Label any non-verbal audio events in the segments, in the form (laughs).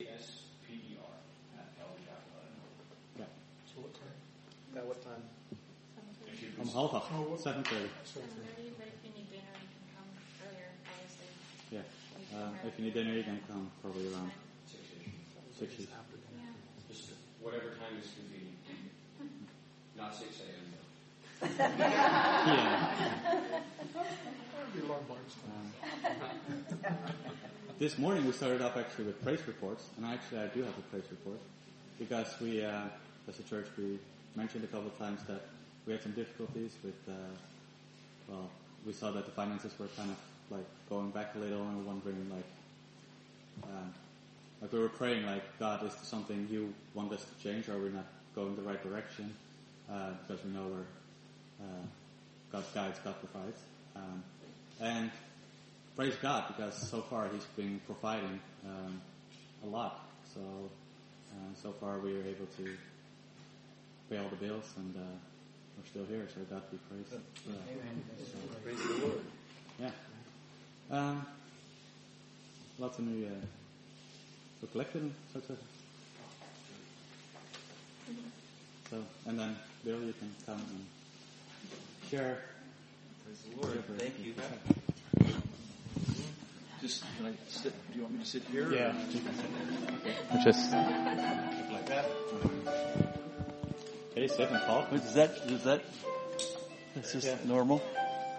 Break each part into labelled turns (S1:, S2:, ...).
S1: E
S2: At what time?
S3: I'm half off. Um, Seven thirty.
S4: Seven thirty, but if you need dinner, you can come earlier, obviously.
S3: Yeah. Um, if you need dinner, you can come probably around
S1: six-ish.
S3: six.
S4: Yeah.
S1: Just whatever time is convenient. Not six a.m. though.
S3: Yeah.
S2: That'd be a long lunch.
S3: This morning we started off actually with praise reports, and actually I do have a praise report because we, uh, as a church, we mentioned a couple of times that we had some difficulties with. Uh, well, we saw that the finances were kind of like going back a little, and we're wondering like, um, like we were praying like, God, is there something you want us to change? Or are we not going the right direction? Uh, because we know we're uh, God guides, God provides, um, and praise God because so far He's been providing um, a lot. So uh, so far we are able to pay all the bills, and uh, we're still here. So God be praised. Yeah.
S2: Praise the Lord.
S3: Yeah. Um, lots of new uh, reflecting sorts of. So and then Bill, you can come and share.
S5: Praise the Lord.
S3: Share for-
S5: Thank you. Just can I sit? Do you want me to sit here?
S3: Just
S5: Like that?
S3: hey, seven talk.
S5: Is that is that? That's just normal.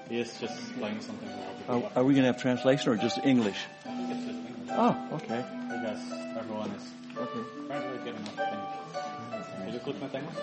S3: He is just playing something.
S5: Are, are we going to have translation or just English? Oh, okay,
S3: Because everyone is
S5: okay.
S3: apparently getting up things. Is het goed met Engels?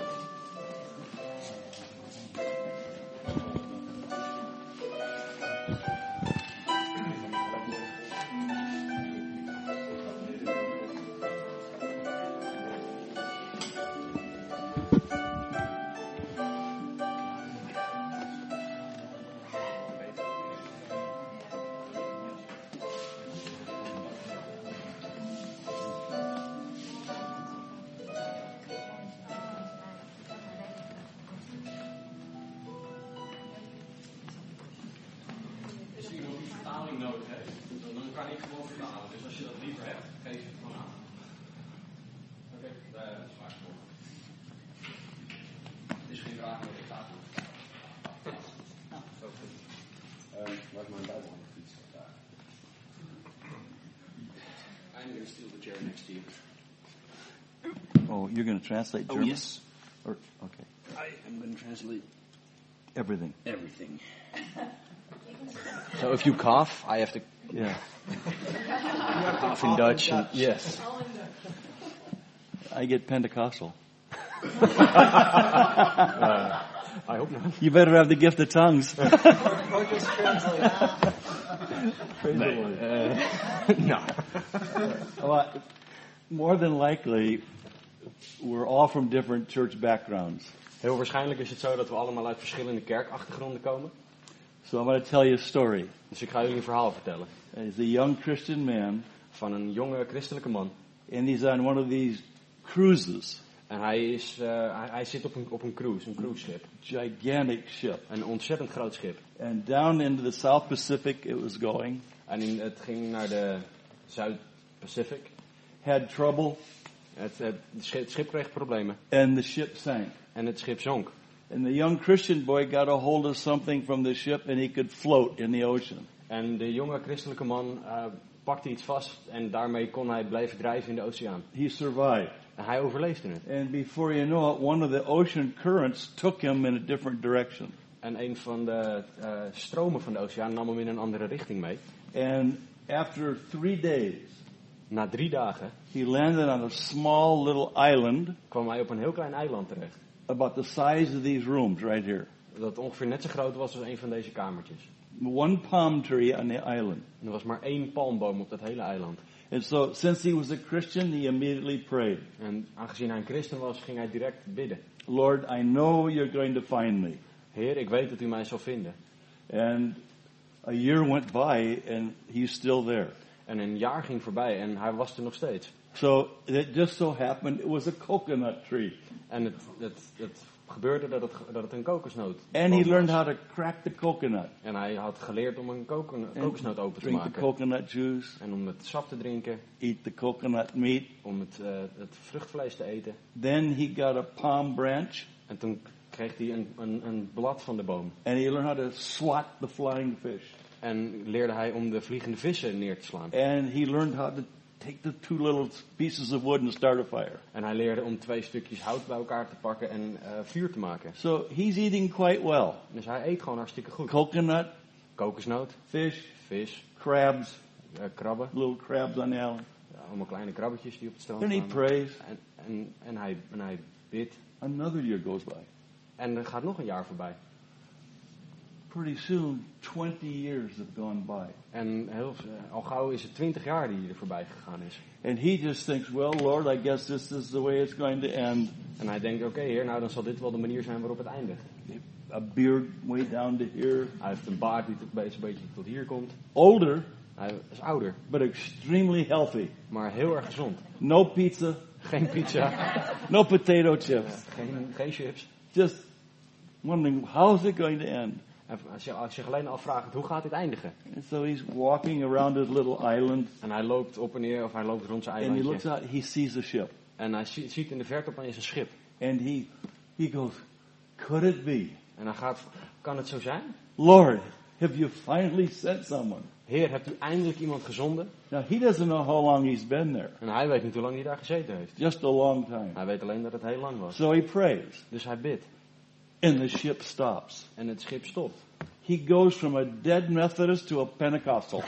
S1: Dus iemand die vertaling nodig heeft, dan kan ik gewoon vertalen. Dus als je dat liever hebt, geef het gewoon aan. Oké, eh, dat is waar. Het is geen vraag meer, ik ga het doen.
S6: Waar is mijn bijbelfiets?
S1: I'm going to steal the chair next to you.
S5: Oh, you're going to translate
S1: Oh,
S5: German?
S1: yes.
S5: Or, okay,
S1: I am going to translate
S5: everything.
S1: everything.
S6: Zo, if you cough, I have to
S5: Yeah.
S6: cough in Dutch. and- yes.
S5: I get Pentecostal.
S6: Uh, I hope not.
S5: You better have the gift of
S6: (laughs)
S5: tongues.
S2: Or just translate.
S6: uh, (laughs) no.
S5: Well, more than likely, we're all from different church backgrounds.
S6: Heel waarschijnlijk is het zo dat we allemaal uit verschillende kerkachtergronden komen.
S5: So I'm going to tell you a story.
S6: Dus ik ga jullie een verhaal vertellen
S5: As a young Christian man,
S6: van een jonge christelijke man.
S5: and he's on one of these cruises,
S6: En hij, is, eh, hij, hij zit op een, op een cruise, een cruiseschip.
S5: gigantic ship.
S6: Een ontzettend groot schip.
S5: And down into the South Pacific it was going,
S6: En in, het ging naar de Zuid-Pacific.
S5: had trouble,
S6: Het, het, het schip- het schip kreeg problemen
S5: and the ship sank.
S6: en het schip zonk.
S5: And the young Christian boy got a hold of something from the ship and he could float in the ocean.
S6: En de jonge christelijke man eh, pakte iets vast en daarmee kon hij blijven drijven in de oceaan.
S5: He survived.
S6: En hij overleefde het.
S5: And before you know it, one of the ocean currents took him in a different direction.
S6: En een van de eh, stromen van de oceaan nam hem in een andere richting mee.
S5: And after three days,
S6: Na drie dagen
S5: he landed on a small little island
S6: kwam hij op een heel klein eiland terecht.
S5: about the size of these rooms right here.
S6: Dat ongeveer net zo groot was als een van deze kamertjes.
S5: One palm tree on the island.
S6: En er was maar één palmboom op dat hele eiland.
S5: And so, since he was a Christian, he immediately prayed,
S6: En aangezien hij een christen was, ging hij direct bidden.
S5: Lord, I know you're going to find me.
S6: Heer, ik weet dat u mij zal vinden.
S5: And a year went by and he's still there.
S6: En een jaar ging voorbij en hij was er nog steeds.
S5: So it just so happened it was a coconut tree.
S6: En het, het, het gebeurde dat het, dat het een kokosnoot
S5: And he
S6: was.
S5: learned how to crack the coconut,
S6: En hij had geleerd om een kokon-
S5: And
S6: kokosnoot open te
S5: drink the
S6: maken.
S5: coconut juice,
S6: En om het sap te drinken,
S5: eat the coconut meat.
S6: om het, eh, het vruchtvlees te eten.
S5: Then he got a palm branch
S6: En En toen kreeg hij een, een, een blad van de boom.
S5: and he learned how to swat the flying fish.
S6: En leerde hij om de vliegende vissen neer te slaan.
S5: And he learned how to take the two little pieces of wood and start a fire.
S6: En hij leerde om twee stukjes hout bij elkaar te pakken en eh, vuur te maken.
S5: So he's eating quite well.
S6: Dus hij eet gewoon hartstikke goed.
S5: Coconut,
S6: Kokosnoot,
S5: fish,
S6: vis,
S5: crabs,
S6: eh, krabben.
S5: little crabs on the island.
S6: Allemaal kleine krabbetjes die op het strand
S5: Then he
S6: kwamen.
S5: prays.
S6: En, en, en, hij, en hij bidt.
S5: Another year goes by.
S6: En er gaat nog een jaar voorbij.
S5: Pretty soon, 20 years have gone by.
S6: En heel, eh, al gauw is het twintig jaar die er voorbij gegaan is.
S5: And he just thinks, well, Lord, I guess this is the way it's going to end.
S6: En hij denkt, oké heer, nou dan zal dit wel de manier zijn waarop het eindigt.
S5: A beard way down to here.
S6: Hij heeft een baard die tot een beetje tot hier komt.
S5: Older,
S6: Hij is ouder,
S5: but extremely healthy.
S6: maar heel erg gezond.
S5: No pizza,
S6: Geen pizza, (laughs)
S5: no potato chips.
S6: geen, geen chips.
S5: Just wondering, how's it going to end?
S6: En als je, als je alleen afvraagt, hoe gaat dit eindigen?
S5: And so he's walking around his little island,
S6: En hij loopt op en neer, of hij loopt rond zijn
S5: and he looks
S6: eilandje.
S5: out, he sees a ship.
S6: En hij zie- ziet in de verte opeens een schip.
S5: And he, he goes, could it be?
S6: En hij gaat, kan het zo zijn?
S5: Lord, have you finally sent someone?
S6: Heer, hebt u eindelijk iemand gezonden?
S5: Now he doesn't know how long he's been there.
S6: En hij weet niet hoe lang hij daar gezeten heeft.
S5: Just a long time.
S6: Hij weet alleen dat het heel lang was.
S5: So he prays,
S6: Dus hij bidt.
S5: and the ship stops.
S6: En het schip stopt.
S5: He goes from a dead Methodist to a Pentecostal.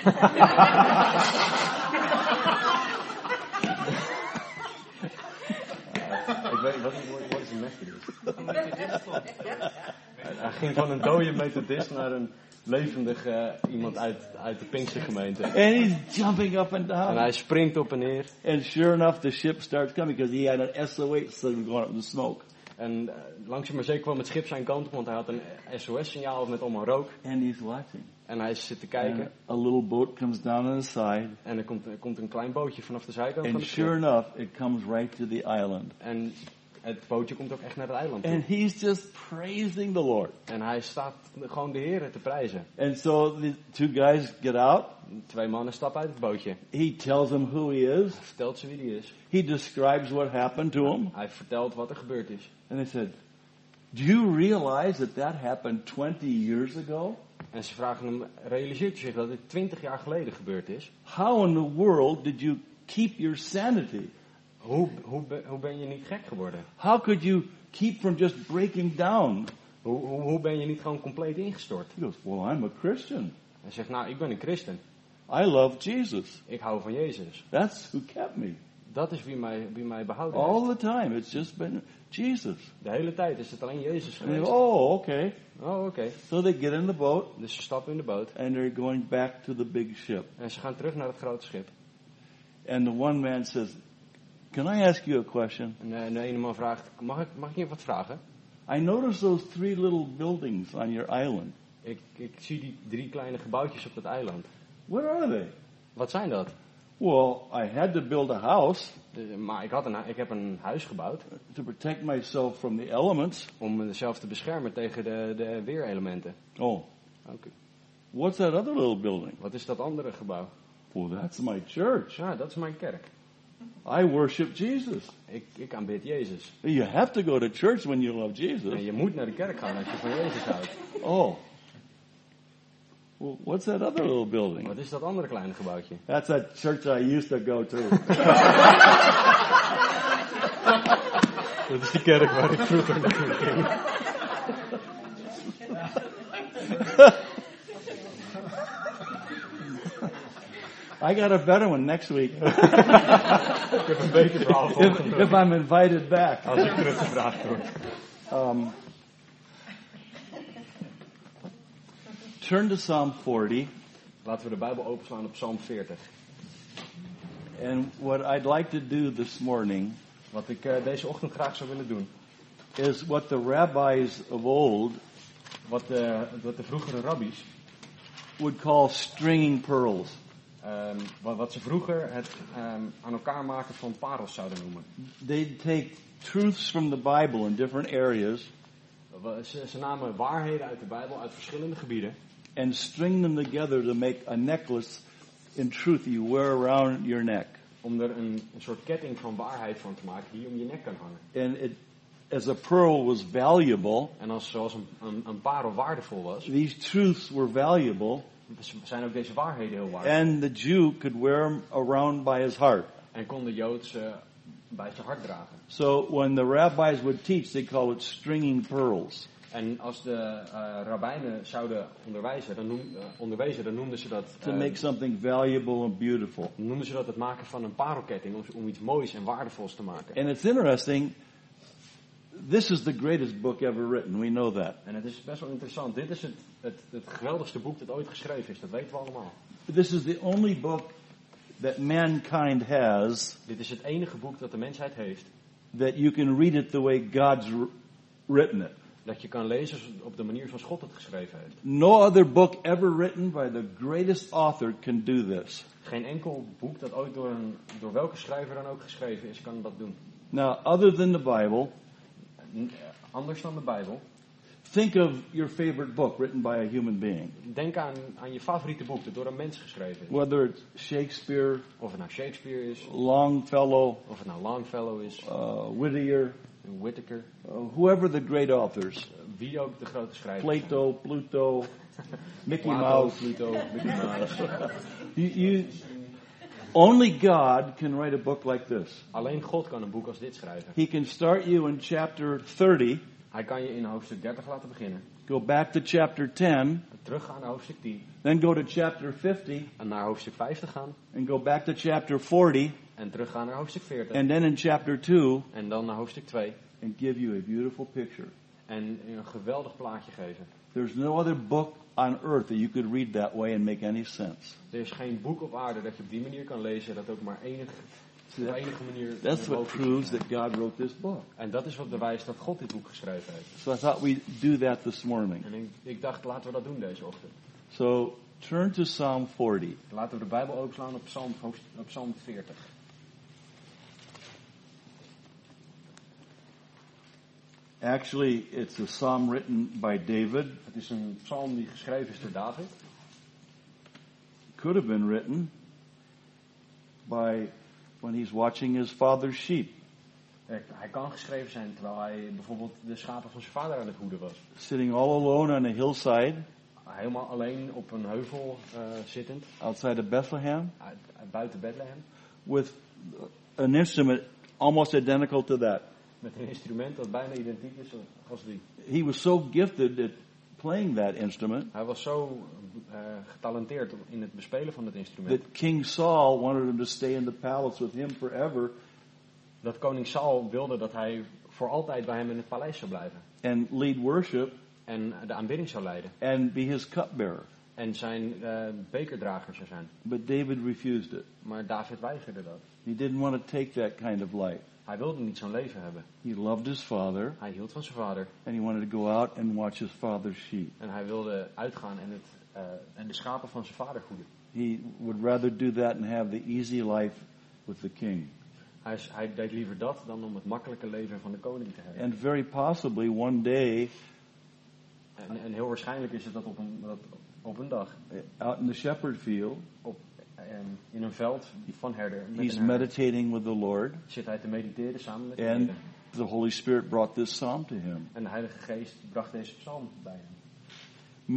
S6: Ik weet wat wat is een methodist? Hij ging van een dode methodist naar een levendig eh, iemand uit, uit de Pinkstergemeente.
S5: and he's jumping up and
S6: En
S5: down.
S6: hij springt op en neer.
S5: And sure enough, the ship starts coming because he had an SOH signal going up in the smoke.
S6: En eh, langzaam maar zeker kwam het schip zijn kant op, want hij had een SOS-signaal met allemaal rook.
S5: And he's watching.
S6: En hij zit te
S5: And
S6: kijken.
S5: a little boat comes down on the side.
S6: En er komt, er komt een klein bootje vanaf de zijkant
S5: And
S6: van het schip.
S5: sure enough, it comes right to the island.
S6: En het bootje komt ook echt naar het eiland toe.
S5: And he's just praising the Lord.
S6: En hij staat gewoon de heren te prijzen.
S5: And so the two guys get out.
S6: Twee mannen stappen uit het bootje.
S5: He tells them who he is.
S6: Hij vertelt ze wie die is.
S5: He describes what happened to him.
S6: Hij vertelt wat er gebeurd is.
S5: And they said, Do you realize that that happened 20 years ago?
S6: En ze vragen hem, realiseert u zich dat dit 20 jaar geleden gebeurd is?
S5: How in the world did you keep your sanity?
S6: Hoe, hoe, be- hoe ben je niet gek geworden?
S5: How could you keep from just breaking down?
S6: Hoe, hoe, hoe ben je niet gewoon compleet ingestort?
S5: He goes, Well, I'm a Christian.
S6: Hij zegt, nou, ik ben een christen.
S5: I love Jesus.
S6: Ik hou van Jezus.
S5: That's who kept me.
S6: Dat is wie mij, wie mij behouden heeft.
S5: All the time. It's just been Jesus.
S6: De hele tijd is het alleen Jezus
S5: And they
S6: geweest.
S5: go,
S6: Oh,
S5: oh, okay.
S6: oké.
S5: So they get in the boat
S6: Dus ze stappen in de boot
S5: and they're going back to the big ship.
S6: en ze gaan terug naar het grote schip.
S5: And the one man says, Can I ask you a question?
S6: En eh, de ene man vraagt, mag ik, mag ik je wat vragen?
S5: I noticed those three little buildings on your island.
S6: Ik, ik zie die drie kleine gebouwtjes op dat eiland.
S5: What are they?
S6: Wat zijn dat?
S5: Well, I had to build a house
S6: Dus, maar ik, had een, hu- ik heb een huis gebouwd
S5: to protect myself from the elements.
S6: om mezelf te beschermen tegen de, de weerelementen.
S5: Oh,
S6: Oké.
S5: what's that other little building?
S6: Wat is dat andere gebouw?
S5: Well, that's my church.
S6: Ja, dat is mijn kerk.
S5: I worship Jesus.
S6: Ik, ik aanbid Jezus.
S5: You have to go to church when you love
S6: En
S5: Jesus.
S6: je moet naar de kerk gaan als je van Jezus houdt.
S5: Oh. Well, what's that other little building?
S6: Wat is dat andere kleine gebouwtje?
S5: That's a church I used to go to.
S6: Dat is de kerk waar ik vroeger naartoe ging.
S5: I got a better one next week if,
S6: Ik heb een beetje verhaal
S5: if I'm invited back.
S6: Als ik teruggevraagd word.
S5: Um, turn to Psalm 40.
S6: Laten we de Bijbel openslaan op Psalm 40.
S5: And what I'd like to do this morning
S6: Wat ik eh, deze ochtend graag zou willen doen.
S5: is what the rabbis of old
S6: Wat de, wat de vroegere rabbies,
S5: would call stringing pearls.
S6: ehm, wat, wat ze vroeger het ehm, aan elkaar maken van parels zouden noemen.
S5: They'd take truths from the Bible in different areas
S6: Wa- Ze, ze namen waarheden uit de Bijbel uit verschillende gebieden.
S5: and string them together to make a necklace in truth you wear around your neck.
S6: Om er een, een soort ketting van waarheid van te maken die je om je nek kan hangen.
S5: And it as a pearl was valuable,
S6: En als zoals een, een, een parel waardevol was,
S5: these truths were valuable,
S6: zijn ook deze waarheden heel waardevol.
S5: and the Jew could wear them around by his heart.
S6: En kon de Jood ze bij zijn hart dragen.
S5: So when the rabbis would teach, they call it stringing pearls.
S6: En als de eh rabbijnen zouden onderwijzen, dan, noem, eh, onderwezen, dan noemden ze dat...
S5: to
S6: eh,
S5: make something valuable and beautiful.
S6: noemden ze dat het maken van een parelketting om, om iets moois en waardevols te maken.
S5: And it's interesting. This is the greatest book ever written. We know that.
S6: En het is best wel interessant. Dit is het, het, het geweldigste boek dat ooit geschreven is. Dat weten we allemaal.
S5: This is the only book that mankind has
S6: Dit is het enige boek dat de mensheid heeft.
S5: that you can read it the way God's wr- written it.
S6: Dat je kan lezen zoals- op de manier zoals God het geschreven heeft.
S5: No other book ever written by the greatest author can do this.
S6: Geen enkel boek dat ooit door, een, door welke schrijver dan ook geschreven is, kan dat doen.
S5: Now, other than the Bible,
S6: N- eh, Anders dan de Bijbel.
S5: think of your favorite book written by a human being.
S6: Denk aan, aan je favoriete boek dat door een mens geschreven is.
S5: Whether it's Shakespeare,
S6: Of het nou Shakespeare is,
S5: Longfellow,
S6: of het nou Longfellow is,
S5: uh, Whittier,
S6: Whittaker.
S5: uh, whoever the great authors.
S6: Wie ook de grote schrijver is.
S5: Plato, Pluto, Mickey
S6: Plato,
S5: Mouse.
S6: Pluto, Mickey Mouse.
S5: You, you, only God can write a book like this.
S6: Alleen God kan een boek als dit schrijven.
S5: He can start you in chapter 30,
S6: Hij kan je in hoofdstuk 30 laten beginnen,
S5: go back to chapter 10,
S6: teruggaan naar hoofdstuk 10,
S5: then go to chapter 50,
S6: en naar hoofdstuk 50 gaan,
S5: and go back to chapter 40,
S6: en teruggaan naar hoofdstuk 40, en,
S5: and then in chapter 2,
S6: dan naar hoofdstuk 2,
S5: and give you a beautiful picture.
S6: en een geweldig plaatje geven.
S5: There's no other book on earth that you could read that way and make any sense.
S6: Er is geen boek op aarde dat je op die manier kan lezen, dat ook maar enig, op enige manier...
S5: That's what
S6: logisch
S5: proves
S6: is.
S5: that God wrote this book.
S6: En dat is wat bewijst dat God dit boek geschreven heeft.
S5: So I thought we'd do that this morning.
S6: En ik, ik dacht, laten we dat doen deze ochtend.
S5: So turn to Psalm 40.
S6: Laten we de Bijbel opslaan op Psalm, hoofdstuk- op Psalm 40.
S5: Actually, it's a psalm written by David.
S6: Het is een psalm die geschreven is door David.
S5: Could have been written by when he's watching his father's sheep,
S6: Eh, Hij kan geschreven zijn terwijl hij bijvoorbeeld de schapen van zijn vader aan het hoeden was.
S5: sitting all alone on a hillside
S6: Helemaal alleen op een heuvel eh, zittend,
S5: outside of Bethlehem
S6: uit, uit buiten Bethlehem.
S5: with an instrument almost identical to that.
S6: Met een instrument dat bijna identiek is als die.
S5: He was so gifted at playing that instrument
S6: Hij was zo eh, getalenteerd in het bespelen van het instrument.
S5: that King Saul wanted him to stay in the palace with him forever.
S6: Dat koning Saul wilde dat hij voor altijd bij hem in het paleis zou blijven.
S5: And lead worship
S6: En de aanbidding zou leiden.
S5: and be his cupbearer.
S6: En zijn eh, bekerdrager zou zijn.
S5: But David refused it.
S6: Maar David weigerde dat.
S5: He didn't want to take that kind of life.
S6: Hij wilde niet zo'n leven hebben.
S5: He loved his father,
S6: Hij hield van zijn vader.
S5: and he wanted to go out and watch his father's sheep.
S6: En hij wilde uitgaan en, het, eh, en de schapen van zijn vader goeden.
S5: He would rather do that and have the easy life with the king.
S6: Hij, is- hij deed liever dat dan om het makkelijke leven van de koning te hebben.
S5: And very possibly one day,
S6: En, en heel waarschijnlijk is het dat op een, dat op een dag
S5: eh, out in the shepherd field,
S6: op, eh, in een veld van herder, met
S5: he's
S6: een herder
S5: meditating with the Lord,
S6: zit hij te mediteren samen met de
S5: and
S6: Heer.
S5: the Holy Spirit brought this psalm to him.
S6: En de Heilige Geest bracht deze psalm bij hem.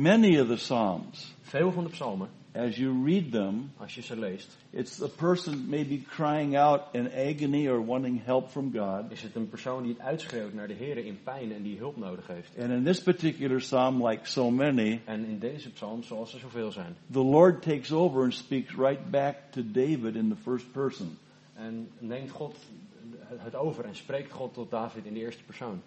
S5: Many of the psalms,
S6: Veel van de psalmen,
S5: as you read them,
S6: als je ze leest,
S5: it's a person maybe crying out in agony or wanting help from God.
S6: is het een persoon die het uitschreeuwt naar de Heer in pijn en die hulp nodig heeft.
S5: And in this particular psalm, like so many,
S6: En in deze psalm, zoals er zoveel zijn.
S5: the Lord takes over and speaks right back to David in the first person.
S6: En neemt God het over en spreekt God tot David in de eerste persoon.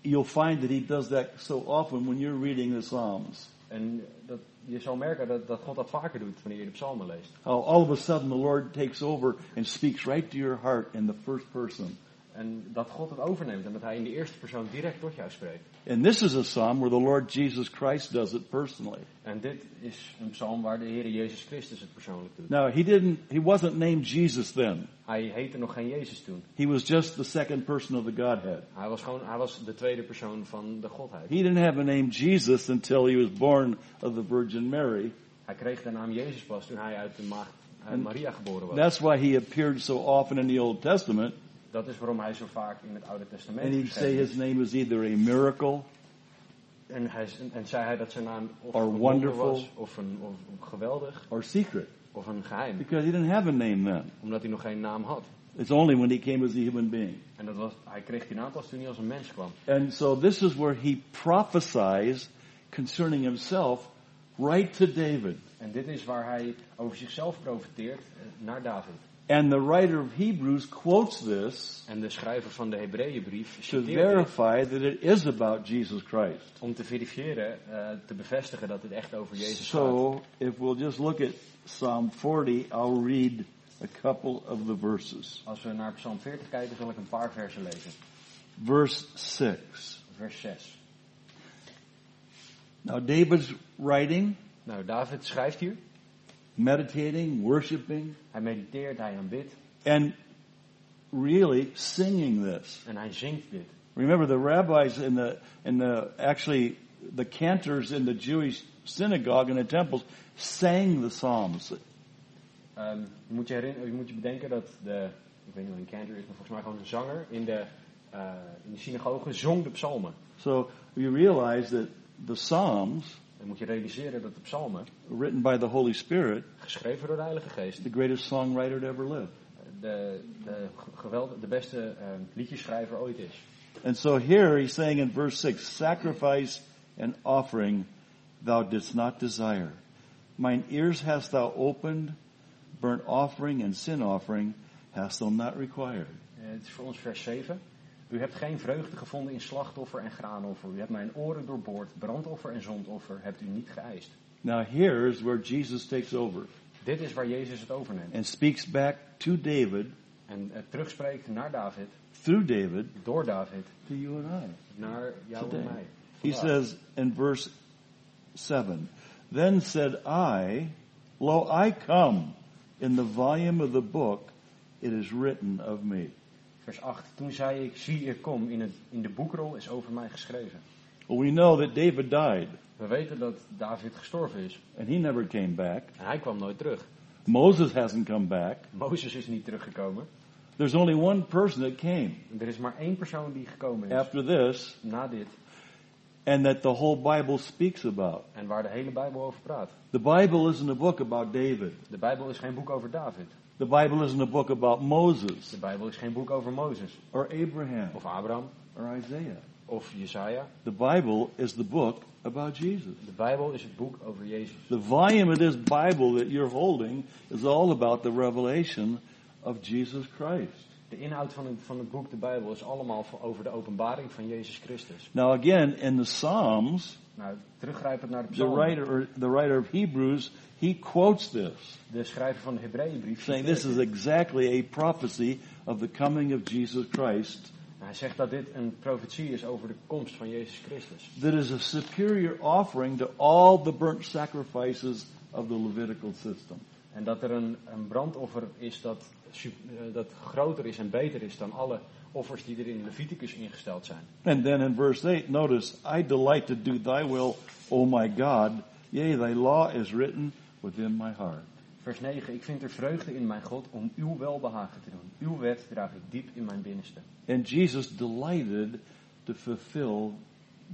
S5: You'll find that he does that so often when you're reading the Psalms.
S6: En dat, je zal merken dat, dat God dat vaker doet wanneer je de psalmen leest.
S5: How all of a sudden the Lord takes over and speaks right to your heart in the first person.
S6: En dat God het overneemt en dat hij in de eerste persoon direct tot jou spreekt.
S5: And this is a psalm where the Lord Jesus Christ does it personally.
S6: En dit is een psalm waar de Heer Jezus Christus het persoonlijk doet.
S5: Now he didn't he wasn't named Jesus then.
S6: Hij heette nog geen Jezus toen.
S5: He was just the second person of the Godhead.
S6: Hij was, gewoon, hij was de tweede persoon van de Godheid.
S5: He didn't have a name Jesus until he was born of the Virgin Mary.
S6: Hij kreeg de naam Jezus
S5: Nou-
S6: pas toen hij uit de maagd eh, Maria geboren was.
S5: That's why he appeared so often in the Old Testament
S6: Dat is waarom hij zo vaak in het Oude Testament
S5: And he'd
S6: beschreven
S5: say
S6: is.
S5: his name was either a miracle
S6: En, hij, en zei hij dat zijn naam of
S5: Or
S6: een wonder
S5: wonderful.
S6: was, of, een, of een geweldig,
S5: or secret
S6: of een geheim.
S5: because he didn't have a name then.
S6: Omdat hij nog geen naam had.
S5: It's only when he came as a human being.
S6: En dat was, hij kreeg die naam pas toen hij als een mens kwam.
S5: And so this is where he prophesies concerning himself right to David.
S6: En dit is waar hij over zichzelf profiteert eh, naar David.
S5: And the writer of Hebrews quotes this
S6: En de schrijver van de Hebreeënbrief
S5: to
S6: citeert dit
S5: verify that it is about Jesus Christ.
S6: om te verifiëren, eh, te bevestigen dat het echt over Jezus gaat.
S5: So if we'll just look at Psalm 40, I'll read a couple of the verses.
S6: Als we naar Psalm 40 kijken, zal ik een paar versen lezen.
S5: Verse 6.
S6: Vers 6.
S5: Now David's writing,
S6: Nou, David schrijft hier.
S5: meditating, worshiping,
S6: Hij mediteert, hij aanbidt
S5: and really singing this.
S6: en hij zingt dit.
S5: Remember the rabbis in the in the actually the cantors in the Jewish synagogue and the temples sang the psalms.
S6: Ehm, je, moet je, herinner- je moet je bedenken dat de, ik weet niet wat een cantor is, maar volgens mij gewoon een zanger in de, eh, in de synagoge zong de psalmen.
S5: So you realize that the psalms
S6: Dan moet je realiseren dat de psalmen,
S5: written by the Holy Spirit,
S6: geschreven door de Heilige Geest,
S5: the greatest songwriter to ever live.
S6: de, de, geweld, de beste eh, liedjeschrijver ooit is.
S5: And so here he's saying in verse 6, sacrifice and offering thou didst not desire. Mine ears hast thou opened, burnt offering and sin offering hast thou not required.
S6: Eh, het is voor ons vers 7. U hebt geen vreugde gevonden in slachtoffer en graanoffer. U hebt mijn oren doorboord. Brandoffer en zondoffer hebt u niet geëist.
S5: Now here is where Jesus takes over
S6: Dit is waar Jezus het overneemt.
S5: and speaks back to David,
S6: En het terugspreekt naar David,
S5: through David,
S6: door David,
S5: to you and I.
S6: naar jou en mij.
S5: He
S6: Vandaag.
S5: says in verse 7, Then said I, Lo, I come. In the volume of the book it is written of me.
S6: Vers 8. Toen zei ik, zie ik kom, in, het, in de boekrol is over mij geschreven.
S5: Well, we know that David died,
S6: We weten dat David gestorven is.
S5: and he never came back.
S6: En hij kwam nooit terug.
S5: Moses hasn't come back.
S6: Mozes is niet teruggekomen.
S5: There's only one person that came
S6: En Er is maar één persoon die gekomen is
S5: after this,
S6: na dit.
S5: and that the whole Bible speaks about.
S6: En waar de hele Bijbel over praat.
S5: The Bible isn't a book about David.
S6: De Bijbel is geen boek over David.
S5: The Bible isn't a book about Moses
S6: De Bijbel is geen boek over Mozes.
S5: or Abraham
S6: Of Abraham.
S5: or Isaiah.
S6: Of Jesaja.
S5: The Bible is the book about Jesus.
S6: De Bijbel is het boek over Jezus.
S5: The volume of this Bible that you're holding is all about the revelation of Jesus Christ.
S6: De inhoud van het, van het boek de Bijbel is allemaal voor- over de openbaring van Jezus Christus.
S5: Now again, in the Psalms,
S6: Nou, teruggrijpend naar de
S5: the
S6: psalmen.
S5: writer, or the writer of Hebrews, he quotes this,
S6: De schrijver van de Hebreeënbrief.
S5: saying this is exactly a prophecy of the coming of Jesus Christ
S6: Hij zegt dat dit een profetie is over de komst van Jezus Christus.
S5: that is a superior offering to all the burnt sacrifices of the Levitical system.
S6: En dat er een, een brandoffer is dat, sup- eh, dat groter is en beter is dan alle offers die er in Leviticus ingesteld zijn.
S5: And then in verse 8, notice, I delight to do thy will, O my God. Yea, thy law is written within my heart.
S6: Vers 9. Ik vind er vreugde in mijn God om uw welbehagen te doen. Uw wet draag ik diep in mijn binnenste.
S5: And Jesus delighted to fulfill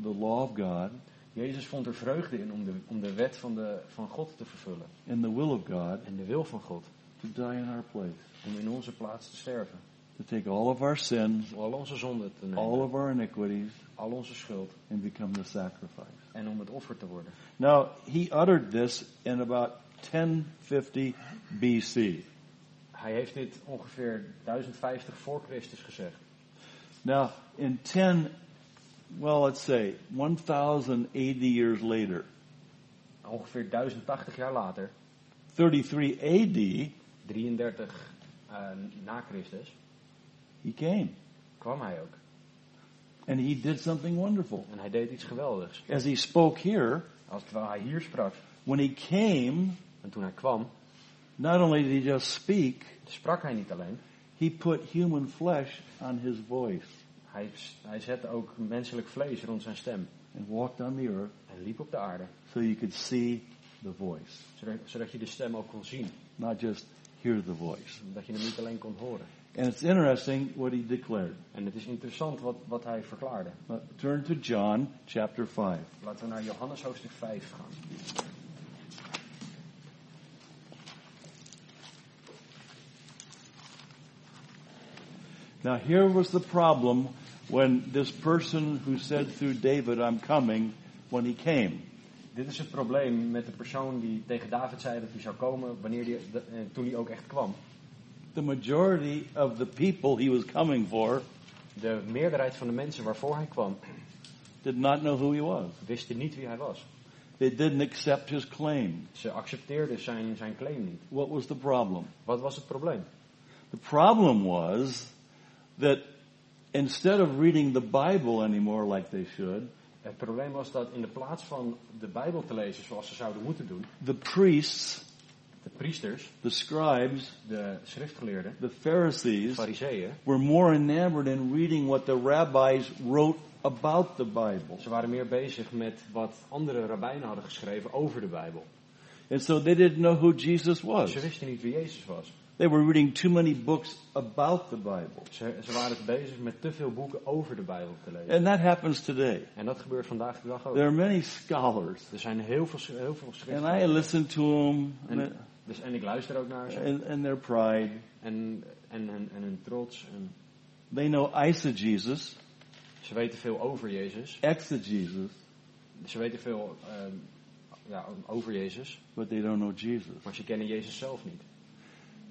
S5: the law of God
S6: Jezus vond er vreugde in om de, om de wet van, de, van God te vervullen.
S5: and the will of God
S6: En de wil van God.
S5: to die in our place,
S6: Om in onze plaats te sterven.
S5: to take all of our sins,
S6: Om al onze zonden te nemen.
S5: all of our iniquities,
S6: al onze schuld.
S5: and become the sacrifice.
S6: En om het offer te worden.
S5: Now, he uttered this in about 1050 BC.
S6: Hij heeft dit ongeveer 1050 voor Christus gezegd.
S5: Now, in 10, well, let's say 1080 years later,
S6: Nou, Ongeveer 1080 jaar later,
S5: 33 AD,
S6: 33 eh, na Christus,
S5: he came
S6: kwam hij ook.
S5: and he did something wonderful.
S6: En hij deed iets geweldigs.
S5: As he spoke here,
S6: Als terwijl hij hier sprak.
S5: when he came,
S6: En toen hij kwam,
S5: not only did he just speak,
S6: sprak hij niet alleen.
S5: he put human flesh on his voice
S6: Hij, hij zette ook menselijk vlees rond zijn stem.
S5: and walked on the earth
S6: En liep op de aarde.
S5: so you could see the voice,
S6: Zodat, zodat je de stem ook kon zien.
S5: not just hear the voice.
S6: Omdat je hem niet alleen kon horen.
S5: And it's interesting what he declared.
S6: En het is interessant wat, wat hij verklaarde.
S5: But turn to John chapter 5.
S6: Laten we naar Johannes hoofdstuk 5 gaan.
S5: Now, here was the problem when this person who said through David, I'm coming, when he came.
S6: Dit is het probleem met de persoon die tegen David zei dat hij zou komen wanneer die, de- eh, toen hij ook echt kwam.
S5: The majority of the people he was coming for
S6: De meerderheid van de mensen waarvoor hij kwam,
S5: did not know who he was.
S6: wisten niet wie hij was.
S5: They didn't accept his claim.
S6: Ze accepteerden zijn, zijn claim niet.
S5: What was the problem?
S6: Wat was het probleem?
S5: The problem was that instead of reading the Bible anymore like they should,
S6: Het probleem was dat in de plaats van de Bijbel te lezen zoals ze zouden moeten doen,
S5: the priests,
S6: de priesters,
S5: the scribes,
S6: de schriftgeleerden,
S5: the
S6: de
S5: Pharisees
S6: fariseeën,
S5: were more enamored in reading what the rabbis wrote about the Bible.
S6: ze waren meer bezig met wat andere rabbijnen hadden geschreven over de Bijbel.
S5: And so they didn't know who Jesus was.
S6: Ze wisten niet wie Jezus was.
S5: They were reading too many books about the Bible.
S6: Ze, ze waren bezig met te veel boeken over de Bijbel te lezen.
S5: And that happens today.
S6: En dat gebeurt vandaag de dag ook.
S5: There are many scholars,
S6: Er zijn heel veel, sch- heel veel
S5: and
S6: schriften.
S5: I listen to them and,
S6: En, dus, en ik luister ook naar ze.
S5: and, and their pride.
S6: En, en, en, en hun trots. En
S5: They know eisegesis,
S6: ze weten veel over Jezus.
S5: exegesis,
S6: Ze weten veel ehm, ja, over Jezus.
S5: but they don't know Jesus.
S6: Maar ze kennen Jezus zelf niet.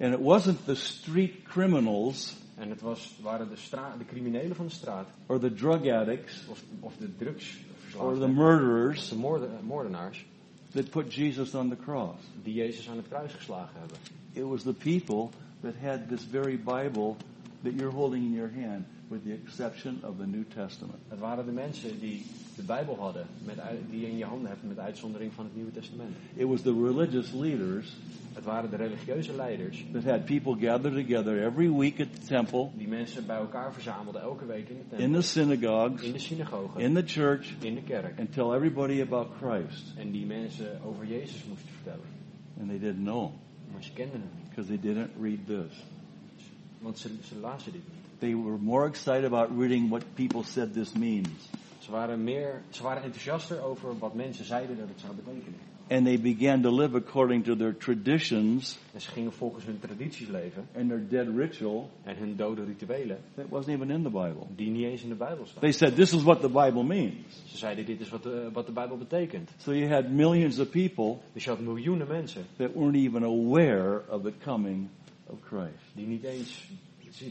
S5: And it wasn't the street criminals
S6: En het was, waren de, stra- de criminelen van de straat.
S5: or the drug addicts
S6: Of, of de
S5: or the
S6: drugsverslaafden. Of
S5: murderers
S6: de moorden- moordenaars.
S5: that put Jesus on the cross.
S6: Die Jezus aan het kruis geslagen hebben.
S5: It was the people that had this very Bible that you're holding in your hand, with the exception of the New Testament.
S6: Het waren de mensen die de Bijbel hadden. Met, ui- die je in je handen hebt met uitzondering van het Nieuwe Testament.
S5: It was the religious leaders
S6: Het waren de religieuze leiders.
S5: that had people gather together every week at the temple,
S6: Die mensen bij elkaar verzamelden elke week in de tempel.
S5: in the synagogues,
S6: in de synagoge.
S5: in the church,
S6: in de kerk.
S5: and tell everybody about Christ.
S6: En die mensen over Jezus moesten vertellen.
S5: And they didn't know him
S6: Maar ze kenden hem niet.
S5: because they didn't read this.
S6: Want ze, ze lazen dit niet.
S5: They were more excited about reading what people said this means.
S6: Ze waren, meer, ze waren enthousiaster over wat mensen zeiden dat het zou betekenen.
S5: And they began to live according to their traditions
S6: En ze gingen volgens hun tradities leven.
S5: and their dead ritual
S6: En hun dode rituelen.
S5: that wasn't even in the Bible.
S6: Die niet eens in de Bijbel staan.
S5: They said, This is wat the Bible means.
S6: Ze zeiden dit is wat de, wat de Bijbel betekent.
S5: So you had millions of people
S6: Dus je had miljoenen mensen.
S5: that weren't even aware of the coming of Christ.
S6: Die, niet eens,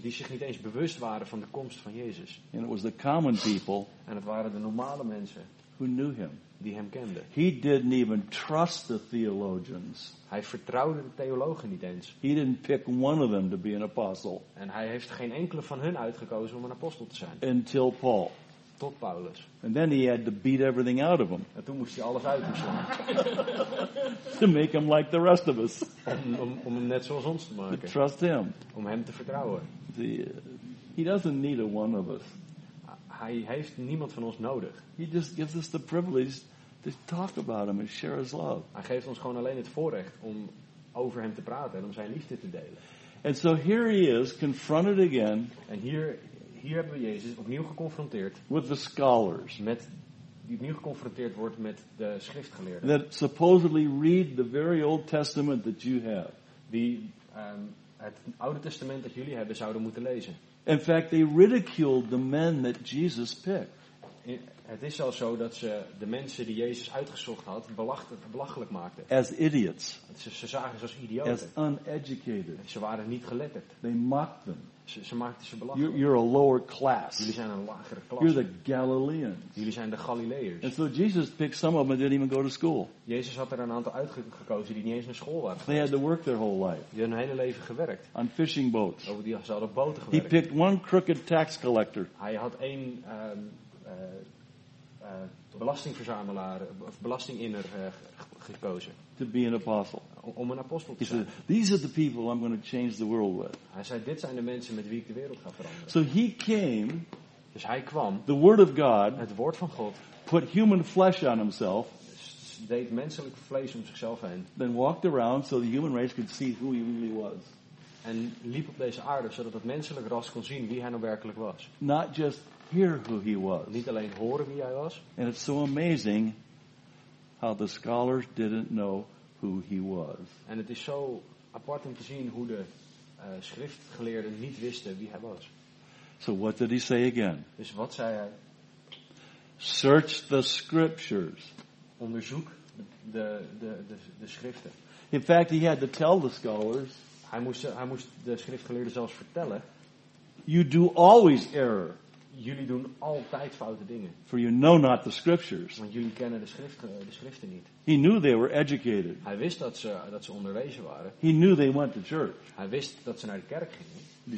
S6: die zich niet eens bewust waren van de komst van Jezus.
S5: And it was the common people
S6: En het waren de normale mensen
S5: who knew him.
S6: die hem kenden.
S5: He didn't even trust the theologians.
S6: Hij vertrouwde de theologen niet eens.
S5: He didn't pick one of them to be an apostle
S6: En hij heeft geen enkele van hun uitgekozen om een apostel te zijn.
S5: until Paul.
S6: Tot Paulus.
S5: And then he had to beat everything out of them
S6: En toen moest hij alles uit hem slaan.
S5: to make them like the rest of us,
S6: Om, om, om hem net zoals ons te
S5: to
S6: maken.
S5: (laughs) trust him.
S6: Om hem te vertrouwen.
S5: The, uh, he doesn't need a one of us.
S6: Hij heeft niemand van ons nodig.
S5: He just gives us the privilege to talk about him and share his love.
S6: Hij geeft ons gewoon alleen het voorrecht om over hem te praten en om zijn liefde te delen.
S5: And so here he is, confronted again
S6: En hier, hier hebben we Jezus opnieuw geconfronteerd
S5: with the scholars
S6: met die opnieuw geconfronteerd wordt met de schriftgeleerden.
S5: that supposedly read the very Old Testament that you have.
S6: Die ehm, het Oude Testament dat jullie hebben zouden moeten lezen.
S5: In fact, they ridiculed the men that Jesus picked.
S6: I- Het is zelfs zo dat ze de mensen die Jezus uitgezocht had belacht- belachelijk maakten.
S5: as idiots,
S6: Ze, ze zagen ze als
S5: as
S6: idioten.
S5: uneducated.
S6: Ze waren niet geletterd.
S5: They mock them.
S6: Ze, ze maakten ze
S5: You're,
S6: belachelijk.
S5: you're a lower
S6: Jullie
S5: class.
S6: zijn een lagere
S5: You're
S6: klas.
S5: the Galileans.
S6: Jullie zijn de
S5: And
S6: Galileërs.
S5: so Jesus picked some of them and didn't even go to school.
S6: Jezus had er een aantal uitgekozen die niet eens naar school waren.
S5: They had to work their whole life
S6: Die hadden hun hele leven gewerkt.
S5: on fishing boats.
S6: Over die, ze hadden op boten
S5: He
S6: gewerkt.
S5: picked one crooked tax collector.
S6: Hij had één ehm, eh, eh, belastingverzamelaar of belastinginner eh, ge- gekozen
S5: To be an apostle.
S6: om- om een apostel
S5: He
S6: te
S5: said,
S6: zijn.
S5: These are the people I'm going to change the world with.
S6: Hij zei, dit zijn de mensen met wie ik de wereld ga veranderen.
S5: So he came,
S6: Dus hij kwam,
S5: the Word of God,
S6: het woord van God,
S5: put human flesh on himself,
S6: s- deed menselijk vlees om zichzelf heen.
S5: then walked around so the human race could see who he really was.
S6: En liep op deze aarde, zodat het menselijk ras kon zien wie hij nou werkelijk was.
S5: not just hear who he was.
S6: Niet alleen horen wie hij was.
S5: And it's so amazing how the scholars didn't know who he was.
S6: En het is zo apart om te zien hoe de eh, schriftgeleerden niet wisten wie hij was.
S5: So what did he say again?
S6: Dus wat zei hij?
S5: Search the scriptures.
S6: Onderzoek de, de, de, de schriften.
S5: In fact, he had to tell the scholars,
S6: Hij moest, hij moest de schriftgeleerden zelfs vertellen,
S5: you do always error,
S6: jullie doen altijd foute dingen.
S5: for you know not the scriptures.
S6: Want jullie kennen de, schrift, eh, de schriften niet.
S5: He knew they were educated.
S6: Hij wist dat ze, dat ze onderwezen waren.
S5: He knew they went to church.
S6: Hij wist dat ze naar de kerk gingen.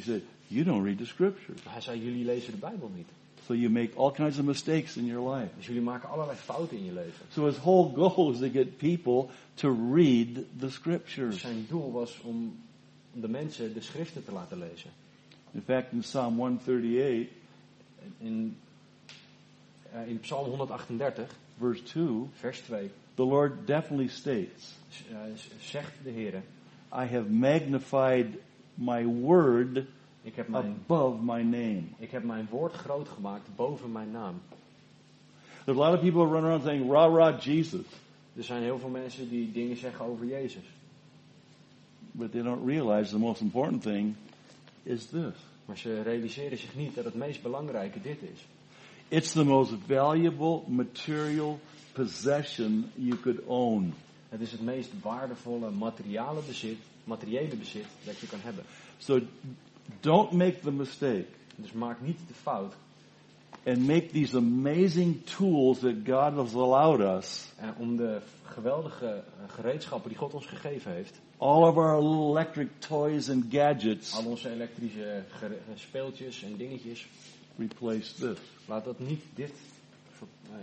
S5: He said, you don't read the scriptures.
S6: Maar hij zei, jullie lezen de Bijbel niet.
S5: So you make all kinds of mistakes in your life.
S6: Dus jullie maken allerlei fouten in je leven.
S5: So his whole (laughs) goal is to get people to read the
S6: Dus
S5: scriptures.
S6: zijn doel was om de mensen de schriften te laten lezen.
S5: In fact, in Psalm 138,
S6: In, eh, in Psalm 138,
S5: verse 2,
S6: vers 2,
S5: the Lord definitely states,
S6: z- eh, z- zegt de Heer,
S5: I have magnified my word
S6: ik, heb mijn-
S5: above my name.
S6: ik heb mijn woord groot gemaakt boven mijn naam.
S5: There's a lot of people who run around saying, rah, rah, Jesus,
S6: Er zijn heel veel mensen die dingen zeggen over Jezus.
S5: but they don't realize the most important thing is this.
S6: Maar ze realiseren zich niet dat het meest belangrijke dit is.
S5: It's the most valuable material possession you could own.
S6: Het is het meest waardevolle materiële bezit, materiële bezit dat je kan hebben.
S5: So don't make the mistake
S6: Dus maak niet de fout
S5: and make these amazing tools that God has allowed us,
S6: eh, om de geweldige eh, gereedschappen die God ons gegeven heeft,
S5: all of our little electric toys and gadgets,
S6: al onze elektrische gere- eh, speeltjes en dingetjes,
S5: replace this.
S6: laat dat niet dit ver- eh,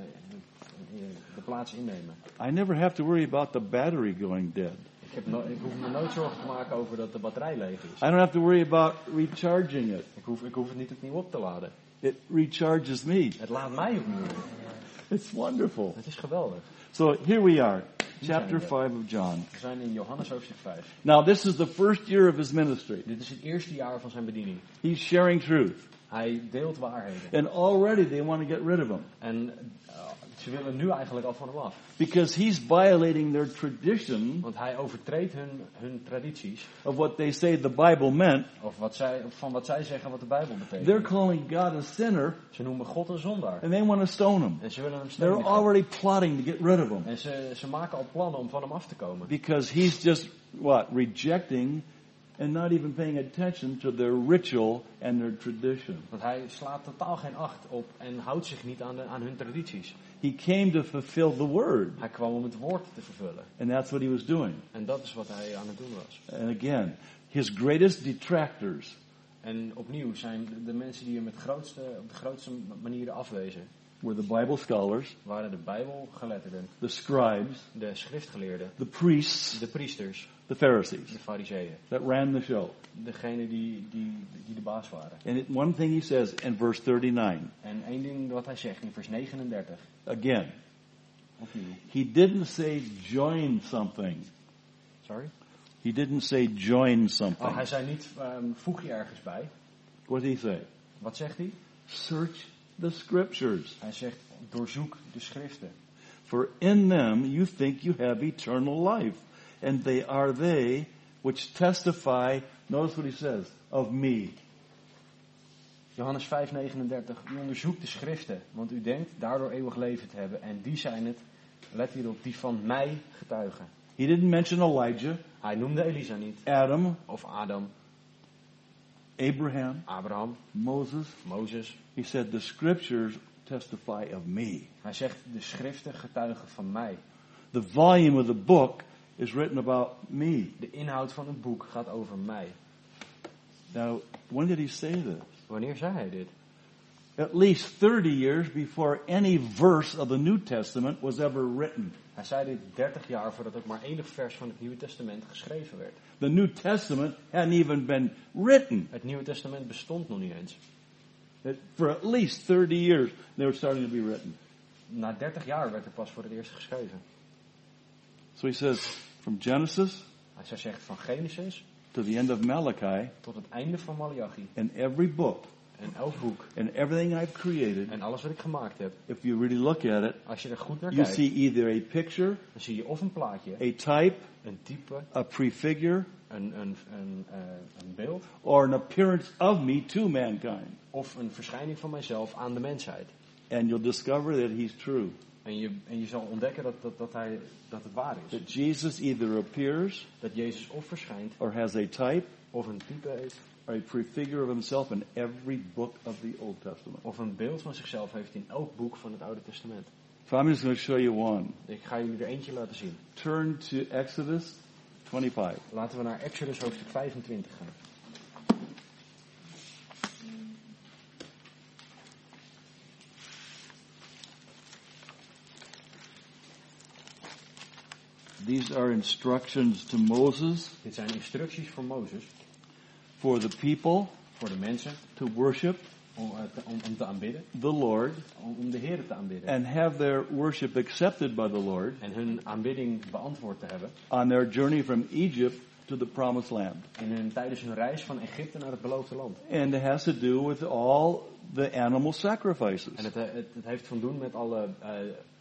S6: eh, de plaats innemen.
S5: I never have to worry about the battery going dead.
S6: Ik, heb no- ik hoef me nooit zorgen te maken over dat de batterij leeg is.
S5: I don't have to worry about recharging it.
S6: Ik hoef, ik hoef het niet opnieuw op te laden.
S5: It recharges me.
S6: Het laat mij opnieuw op.
S5: It's wonderful.
S6: Het is geweldig.
S5: So here we are, chapter 5 of John.
S6: We zijn in Johannes hoofdstuk 5.
S5: Now this is the first year of his ministry.
S6: Dit is het eerste jaar van zijn bediening.
S5: He's sharing truth.
S6: Hij deelt waarheden.
S5: And already they want to get rid of him
S6: En eh, ze willen nu eigenlijk al van hem af.
S5: because he's violating their tradition
S6: Want hij overtreedt hun, hun tradities.
S5: of wat they say the Bible meant.
S6: Of wat zij, of van wat zij zeggen wat de Bijbel
S5: They're
S6: betekent.
S5: calling God a sinner
S6: Ze noemen God een zondaar.
S5: and they want to stone him.
S6: En ze willen hem
S5: They're
S6: stenigen.
S5: already plotting to get rid of him
S6: En ze, ze maken al plannen om van hem af te komen.
S5: because he's just what rejecting and not even paying attention to their ritual and their tradition.
S6: Want hij slaat totaal geen acht op en houdt zich niet aan, de, aan hun tradities.
S5: He came to fulfill the word
S6: Hij kwam om het woord te vervullen.
S5: and that's what he was doing.
S6: En dat is wat hij aan het doen was.
S5: And again, his greatest detractors
S6: En opnieuw zijn de- de mensen die hem het grootste, op de grootste manieren afwezen,
S5: were the Bible scholars,
S6: waren de Bijbelgeletterden,
S5: the scribes,
S6: de schriftgeleerden,
S5: the priests,
S6: de priesters,
S5: the Pharisees.
S6: de fariseeën.
S5: that ran the show.
S6: Degene die, die, die de baas waren.
S5: And it, one thing he says in verse 39,
S6: En één ding wat hij zegt in vers 39,
S5: again,
S6: opnieuw.
S5: he didn't say join something.
S6: Sorry?
S5: He didn't say join something.
S6: Oh, hij zei niet, ehm, voeg je ergens bij.
S5: What did he say?
S6: Wat zegt hij?
S5: Search the scriptures,
S6: Hij zegt, doorzoek de schriften.
S5: for in them you think you have eternal life, and they are they which testify, notice what he says, of me.
S6: Johannes 5:39. U onderzoekt de schriften, want u denkt daardoor eeuwig leven te hebben. En die zijn het, let hierop, die van mij getuigen.
S5: He didn't mention Elijah,
S6: Hij noemde Elisa niet,
S5: Adam,
S6: of Adam,
S5: Abraham,
S6: Abraham,
S5: Moses.
S6: Mozes.
S5: He said the scriptures testify of me.
S6: Hij zegt, de schriften getuigen van mij.
S5: The volume of the book is written about me.
S6: De inhoud van het boek gaat over mij.
S5: Now, when did he say this?
S6: Wanneer zei hij dit?
S5: At least 30 years before any verse of the New Testament was ever written.
S6: Hij zei dit 30 jaar voordat ook maar enig vers van het Nieuwe Testament geschreven werd.
S5: The New Testament hadn't even been written.
S6: Het Nieuwe Testament bestond nog niet eens.
S5: It- for at least 30 years, they were starting to be written.
S6: Na 30 jaar werd er pas voor het eerst geschreven.
S5: So he says, from Genesis
S6: Hij zegt van Genesis
S5: to the end of Malachi,
S6: tot het einde van Malachi.
S5: and every book
S6: En elk boek
S5: and everything I've created,
S6: en alles wat ik gemaakt heb.
S5: if you really look at it,
S6: Als je er goed naar
S5: you
S6: kijkt,
S5: see either a picture,
S6: dan zie je of een plaatje,
S5: a type,
S6: een type,
S5: a prefigure,
S6: een, een, een, eh, een beeld
S5: or an appearance of me to mankind.
S6: of een verschijning van mijzelf aan de mensheid.
S5: And you'll discover that he's true.
S6: En je, en je zal ontdekken dat, dat, dat, hij, dat het waar is.
S5: That Jesus either appears
S6: Dat Jezus of verschijnt
S5: or has a type
S6: of een type heeft
S5: or a prefigure of himself in every book of the Old Testament.
S6: of een beeld van zichzelf heeft in elk boek van het Oude Testament.
S5: So I'm just going to show you one.
S6: Ik ga jullie er eentje laten zien.
S5: Turn to Exodus 25.
S6: Laten we naar Exodus hoofdstuk 25 gaan.
S5: These are instructions to Moses
S6: Dit zijn instructies voor Mozes,
S5: for the people
S6: voor de mensen,
S5: to worship
S6: om, eh, te, om, om te aanbidden,
S5: the Lord
S6: om, om de Heer te aanbidden.
S5: and have their worship accepted by the Lord
S6: En hun aanbidding beantwoord te hebben
S5: on their journey from Egypt to the promised land.
S6: in hun, tijdens hun reis van Egypte naar het beloofde land.
S5: And it has to do with all the animal
S6: En
S5: sacrifices.
S6: het, eh, het, het heeft van doen met alle eh,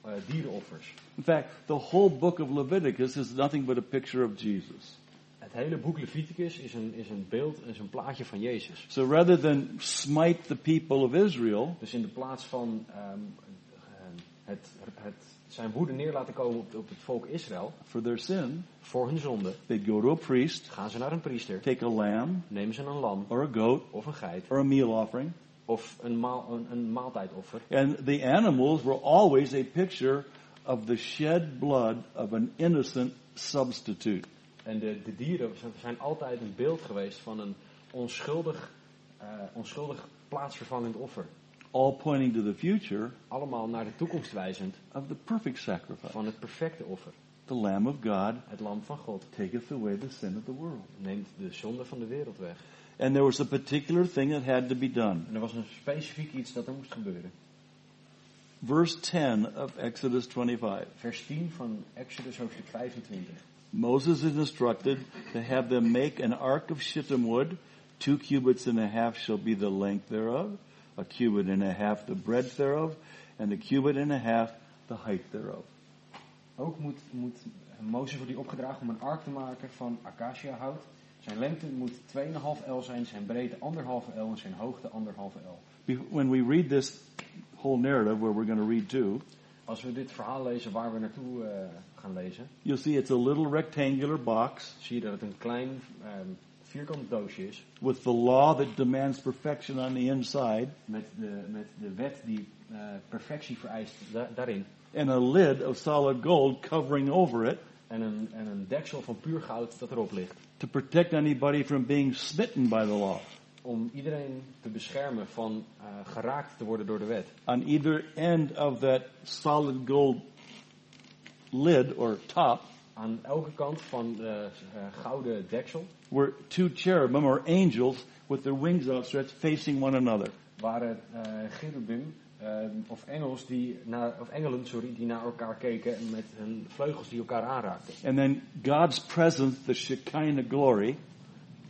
S6: eh, dierenoffers.
S5: In fact, the whole book of Leviticus is nothing but a picture of Jesus.
S6: Het hele boek Leviticus is een, is een beeld, is een plaatje van Jezus.
S5: So rather than smite the people of Israel,
S6: Dus in de plaats van ehm, ehm, het, het, zijn woede neer laten komen op, op het volk Israël
S5: for their sin,
S6: voor hun zonde,
S5: they'd go to a priest,
S6: gaan ze naar een priester,
S5: take a lamb
S6: nemen ze een lam
S5: or a goat
S6: of een geit
S5: or a meal offering,
S6: of een, maal, een, een maaltijdoffer.
S5: and the animals were always a picture of the shed blood of an innocent substitute.
S6: En de, de dieren zijn- zijn altijd een beeld geweest van een onschuldig, eh, onschuldig plaatsvervangend offer.
S5: all pointing to the future
S6: Allemaal naar de toekomst wijzend
S5: of the perfect sacrifice.
S6: van het perfecte offer.
S5: The Lamb of God
S6: Het lam van God
S5: taketh away the sin of the world.
S6: neemt de zonde van de wereld weg.
S5: And there was a particular thing that had to be done.
S6: En er was een specifiek iets dat er moest gebeuren.
S5: Verse 10 of Exodus 25.
S6: Vers 10 van Exodus hoofdstuk 25.
S5: Moses is instructed to have them make an ark of shittim wood. Two cubits and a half shall be the length thereof, a cubit and a half the breadth thereof, and a cubit and a half the height thereof.
S6: Ook moet, moet Mozes wordt die opgedragen om een ark te maken van acaciahout. Zijn lengte moet 2,5 L zijn, zijn breedte 1,5 L en zijn hoogte 1,5 L.
S5: Be- When we read this whole narrative, where we're going to read to,
S6: Als we dit verhaal lezen waar we naartoe eh, gaan lezen,
S5: you'll see it's a little rectangular box
S6: zie je dat het een klein ehm, vierkant doosje is.
S5: with the law that demands perfection on the inside
S6: Met de, met de wet die eh, perfectie vereist da- daarin.
S5: and a lid of solid gold covering over it
S6: En een, en een deksel van puur goud dat erop ligt.
S5: to protect anybody from being smitten by the law
S6: Om iedereen te beschermen van eh, geraakt te worden door de wet.
S5: on either end of that solid gold lid or top
S6: Aan elke kant van de eh, gouden deksel
S5: were two cherubim or angels with their wings outstretched facing one another
S6: waren eh cherubim eh, of, engels die naar, of engelen sorry, die naar elkaar keken en met hun vleugels die elkaar aanraakten.
S5: and then god's presence the shekinah glory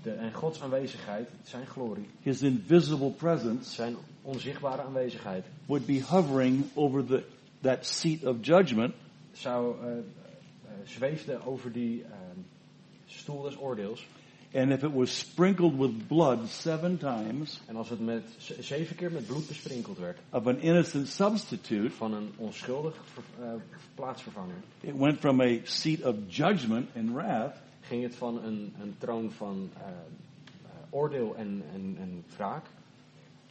S6: De, en Gods aanwezigheid, zijn glorie,
S5: his invisible presence
S6: zijn onzichtbare aanwezigheid,
S5: would be hovering over the, that seat of judgment
S6: zou, eh, eh, zweefde over die eh, stoel des oordeels.
S5: And if it was sprinkled with blood seven times
S6: En als het met, z- zeven keer met bloed besprinkeld werd
S5: of an innocent substitute,
S6: van een onschuldig ver- eh, plaatsvervanger,
S5: it went from a seat of judgment and wrath
S6: ging het van een, een troon van eh, eh, oordeel en, en, en wraak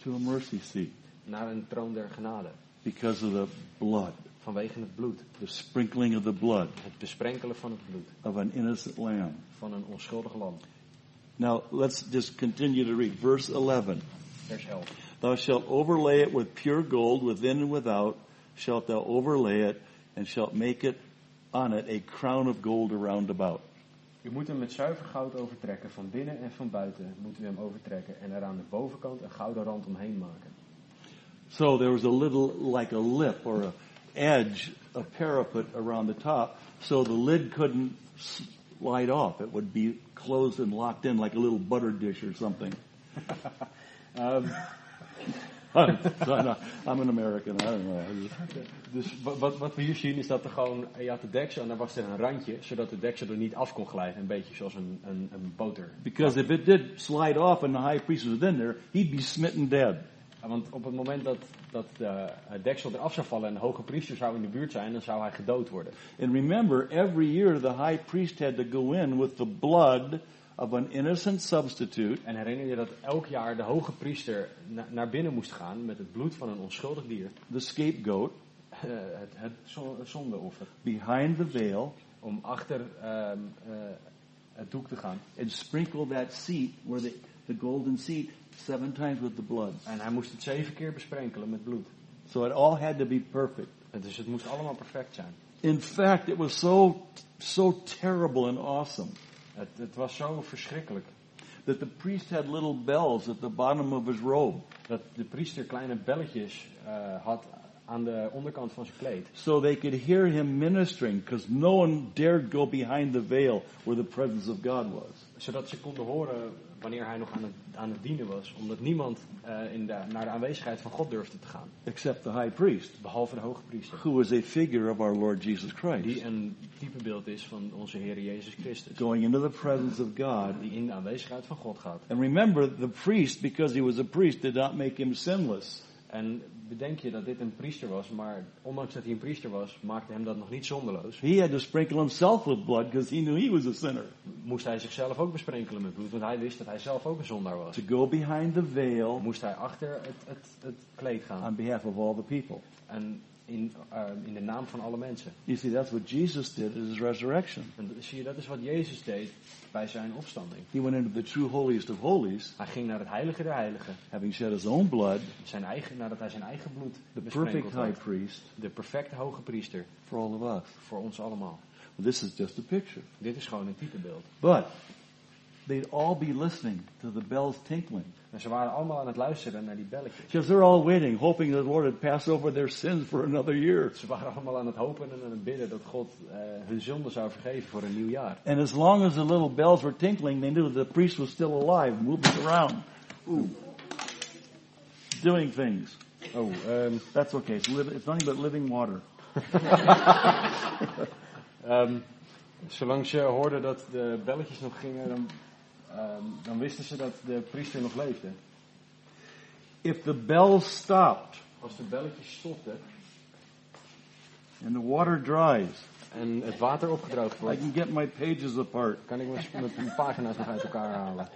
S5: to a mercy seat
S6: naar een troon der genade.
S5: because of the blood,
S6: Vanwege het bloed.
S5: the sprinkling of the blood
S6: Het besprenkelen van het bloed
S5: of an innocent lamb.
S6: van een onschuldig lam.
S5: Now let's just continue to read verse 11.
S6: Vers 11.
S5: Thou shalt overlay it with pure gold within and without, shalt thou overlay it, and shalt make it on it a crown of gold around about.
S6: U moet hem met zuiver goud overtrekken, van binnen en van buiten moet u hem overtrekken en er aan de bovenkant een gouden rand omheen maken.
S5: So there was a little, like a lip or a edge, a parapet around the top, so the lid couldn't s- slide off. It would be closed and locked in like a little butter dish or something.
S6: Um,
S5: I'm, I'm an American. I don't know. I just-
S6: dus wa- wat, wat we hier zien is dat er gewoon, je had de deksel en daar was er een randje, zodat de deksel er niet af kon glijden. Een beetje zoals een, een, een boter.
S5: Because if it did slide off and the high priest was in there, he'd be smitten dead.
S6: Want op het moment dat, dat de eh, deksel eraf zou vallen en de hoge priester zou in de buurt zijn, dan zou hij gedood worden.
S5: And remember, every year the high priest had to go in with the blood of an innocent substitute
S6: En herinner je dat elk jaar de hoge priester na- naar binnen moest gaan met het bloed van een onschuldig dier,
S5: the scapegoat
S6: eh, het, het zo- zondeoffer,
S5: behind the veil
S6: om achter ehm, eh, het doek te gaan.
S5: and sprinkle that seat where the, the golden seat seven times with the blood.
S6: En hij moest het zeven keer besprenkelen met bloed.
S5: So it all had to be perfect.
S6: En Dus het moest allemaal perfect zijn.
S5: In fact, it was so so terrible and awesome
S6: Het, het was zo verschrikkelijk
S5: that the priest had little bells at the bottom of his robe.
S6: dat de priester kleine belletjes eh, had aan de onderkant van zijn kleed.
S5: so they could hear him ministering because no one dared go behind the veil where the presence of God was.
S6: Zodat ze konden horen wanneer hij nog aan het, aan het dienen was. Omdat niemand eh, in de, naar de aanwezigheid van God durfde te gaan.
S5: Except the high priest,
S6: Behalve de hoge priester.
S5: who was a figure of our Lord Jesus
S6: Die
S5: Christ,
S6: een typebeeld is van onze Heer Jezus Christus.
S5: going into the presence of God.
S6: Die in de aanwezigheid van God gaat.
S5: And remember, the priest, because he was a priest, did not make him sinless.
S6: En bedenk je dat dit een priester was. Maar ondanks dat hij een priester was, maakte hem dat nog niet zonderloos.
S5: He had to sprinkle himself with blood because he knew he was a sinner.
S6: Moest hij zichzelf ook besprenkelen met bloed. Want hij wist dat hij zelf ook een zondaar was.
S5: To go behind the veil
S6: Moest hij achter het, het, het kleed gaan.
S5: on behalf of all the people.
S6: En in, eh, in de naam van alle mensen.
S5: You see, that's what Jesus did at his resurrection.
S6: En dat- zie je, dat is wat Jezus deed bij zijn opstanding.
S5: He went into the true holiest of holies,
S6: Hij ging naar het heilige der heiligen.
S5: having shed his own blood,
S6: Zijn eigen, nadat hij zijn eigen bloed
S5: the perfect
S6: besprenkeld
S5: high
S6: had.
S5: priest.
S6: De perfecte hoge priester
S5: for all of us.
S6: voor ons allemaal.
S5: This is just a picture.
S6: Dit is gewoon een typebeeld.
S5: But they'd all be listening to the bells tinkling
S6: En ze waren allemaal aan het luisteren naar die belletjes.
S5: because they're all waiting, hoping the Lord would pass over their sins for another year.
S6: Ze waren allemaal aan het hopen en aan het bidden dat God eh, hun zonde zou vergeven voor een nieuw jaar.
S5: And as long as the little bells were tinkling, they knew the priest was still alive, moving around, ooh, doing things.
S6: Oh, ehm,
S5: That's okay. It's, liv- it's nothing but living water.
S6: ehm, zolang ze hoorden dat de belletjes nog gingen, dan, ehm, dan wisten ze dat de priester nog leefde.
S5: If the bells stopped
S6: Als de belletjes stopten
S5: and the water dries,
S6: en het water opgedroogd
S5: I
S6: wordt,
S5: can get my pages apart.
S6: kan ik mijn- mijn mijn pagina's nog uit elkaar halen.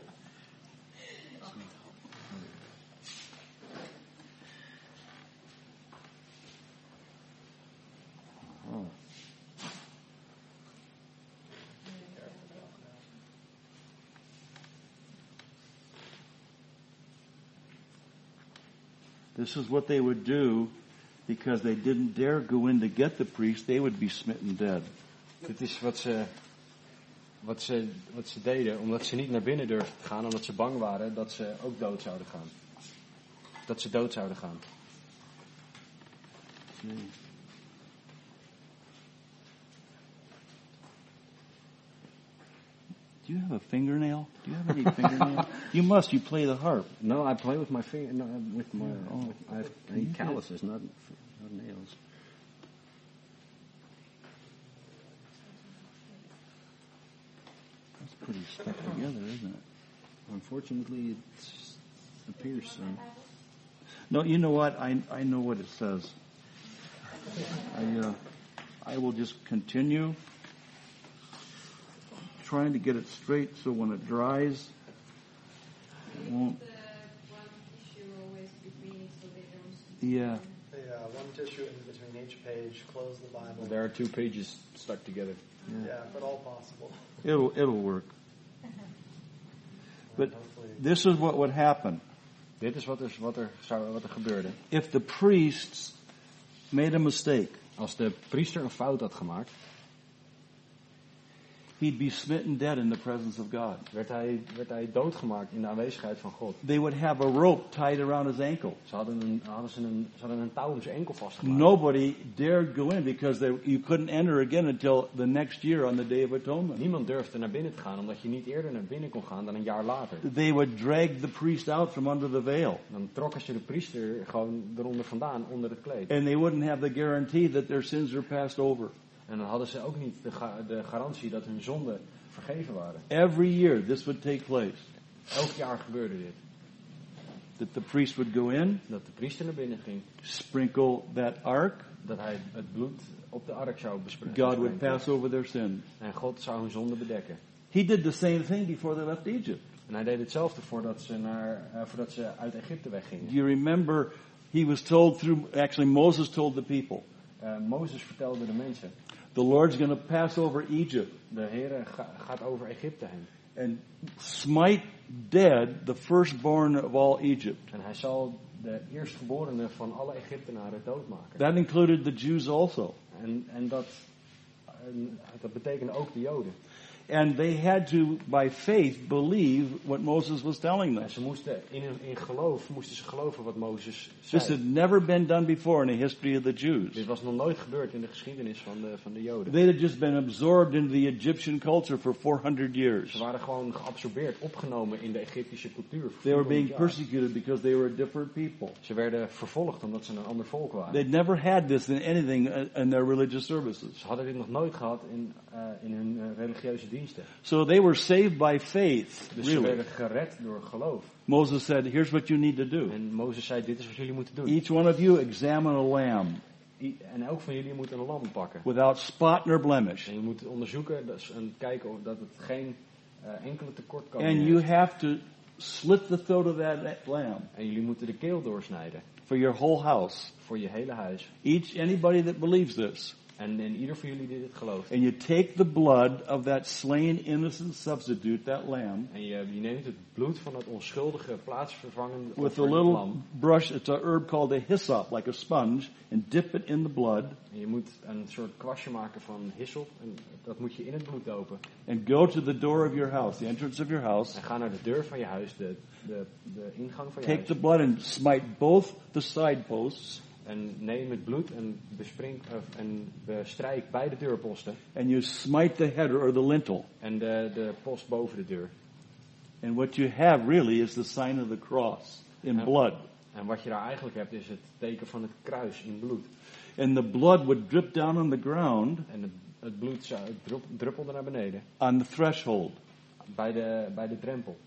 S5: This is what they would do because they didn't dare go in to get the priest. They would be smitten dead.
S6: Dit is wat ze, wat, ze, wat ze deden, omdat ze niet naar binnen durfden te gaan, omdat ze bang waren dat ze ook dood zouden gaan. Dat ze dood zouden gaan.
S5: Do you have a fingernail? Do you have any fingernail? you must. You play the harp.
S6: No, I play with my finger, no, with my,
S5: Oh.
S6: with- I have I have calluses, not, not nails.
S5: That's pretty stuck together, isn't it?
S6: Unfortunately, it appears so.
S5: No, you know what? I, I know what it says. I, uh, I will just continue trying to get it straight so when it dries, it
S4: one
S5: won't.
S4: issue always between so they don't
S5: Yeah.
S2: Yeah, one tissue in between each page, close the Bible.
S6: There are two pages stuck together.
S2: Yeah, if at all possible.
S5: It'll it'll work. But-
S2: And hopefully,
S5: This is what would happen
S6: Dit is wat er, wat er, zou, wat er gebeurde.
S5: if the priests made a mistake.
S6: Als de priester een fout had gemaakt,
S5: he'd be smitten dead in the presence of God.
S6: werd hij, werd hij doodgemaakt in de aanwezigheid van God.
S5: They would have a rope tied around his ankle.
S6: Ze hadden een, hadden ze een, ze hadden een touw om zijn enkel vastgemaakt.
S5: Nobody dared go in because they, you couldn't enter again until the next year on the Day of Atonement.
S6: Niemand durfde naar binnen te gaan, omdat je niet eerder naar binnen kon gaan dan een jaar later.
S5: They would drag the priest out from under the veil,
S6: Dan trokken ze de priester gewoon eronder vandaan, onder het kleed.
S5: and they wouldn't have the guarantee that their sins were passed over.
S6: En dan hadden ze ook niet de, ga- de garantie dat hun zonden vergeven waren.
S5: Every year this would take place,
S6: Elk jaar gebeurde dit.
S5: that the priest would go in,
S6: Dat de priester naar binnen ging,
S5: sprinkle that ark,
S6: dat hij het bloed op de ark zou bespreken.
S5: God would pass over their sins.
S6: En God zou hun zonde bedekken.
S5: He did the same thing before they left Egypt.
S6: En hij deed hetzelfde voordat ze, naar, eh, voordat ze uit Egypte weggingen.
S5: Do you remember he was told through, actually Moses told the people,
S6: Eh, Mozes vertelde de mensen,
S5: the Lord's going to pass over Egypt
S6: de Heer gaat over Egypte heen.
S5: and smite dead the firstborn of all Egypt.
S6: En hij zal de eerstgeborene van alle Egyptenaren doodmaken.
S5: That included the Jews also.
S6: En, en dat, en dat betekende ook de Joden.
S5: And they had to, by faith, believe what Moses was telling them.
S6: En ze moesten in, hun- in geloof moesten ze geloven wat Mozes
S5: This
S6: zei.
S5: had never been done before in the history of the
S6: Dit
S5: Jews.
S6: was nog nooit gebeurd in de geschiedenis van de, van de Joden.
S5: They had just been absorbed into the Egyptian culture for 400
S6: Ze
S5: years.
S6: waren gewoon geabsorbeerd, opgenomen in de Egyptische cultuur. voor
S5: They were
S6: 400
S5: being
S6: jaar.
S5: persecuted because they were a different people.
S6: Ze werden vervolgd omdat ze een ander volk waren.
S5: They'd never had this in anything uh, in their religious services.
S6: Ze hadden dit nog nooit gehad in, eh, in hun eh, religieuze diensten.
S5: So they were saved by faith,
S6: Dus ze
S5: really.
S6: werden gered door geloof.
S5: Moses said, here's what you need to do.
S6: En Mozes zei, dit is wat jullie moeten doen.
S5: Each one of you examine a lamb
S6: I- En elk van jullie moet een lam pakken.
S5: without spot nor blemish.
S6: En je moet onderzoeken dat is- en kijken of dat het geen eh, enkele tekortkoming
S5: And
S6: is.
S5: you have to slit the throat of that lamb
S6: En jullie moeten de keel doorsnijden
S5: for your whole house.
S6: voor je hele huis.
S5: Each anybody that believes this,
S6: En, en ieder van jullie die dit gelooft.
S5: and you take the blood of that slain innocent substitute, that lamb,
S6: En je, je neemt het bloed van het onschuldige plaatsvervangende
S5: with a
S6: offer, het
S5: little
S6: lam.
S5: brush. It's a herb called a hyssop, like a sponge, and dip it in the blood,
S6: En je moet een soort kwastje maken van hyssop. En dat moet je in het bloed dopen.
S5: and go to the door of your house, the entrance of your house.
S6: En ga naar de deur van je huis, de, de, de ingang van je
S5: Take
S6: huis.
S5: the blood and smite both the side posts,
S6: En neem het bloed en, besprink, of, en bestrijk beide deurposten.
S5: and you smite the header or the lintel.
S6: En de, de post boven de deur.
S5: And what you have really is the sign of the cross in
S6: Yeah.
S5: blood.
S6: En wat je daar eigenlijk hebt is het teken van het kruis in bloed.
S5: And the blood would drip down on the ground
S6: En het, het bloed zou- het drup- druppelde naar beneden.
S5: on the threshold.
S6: Bij de, bij de drempel.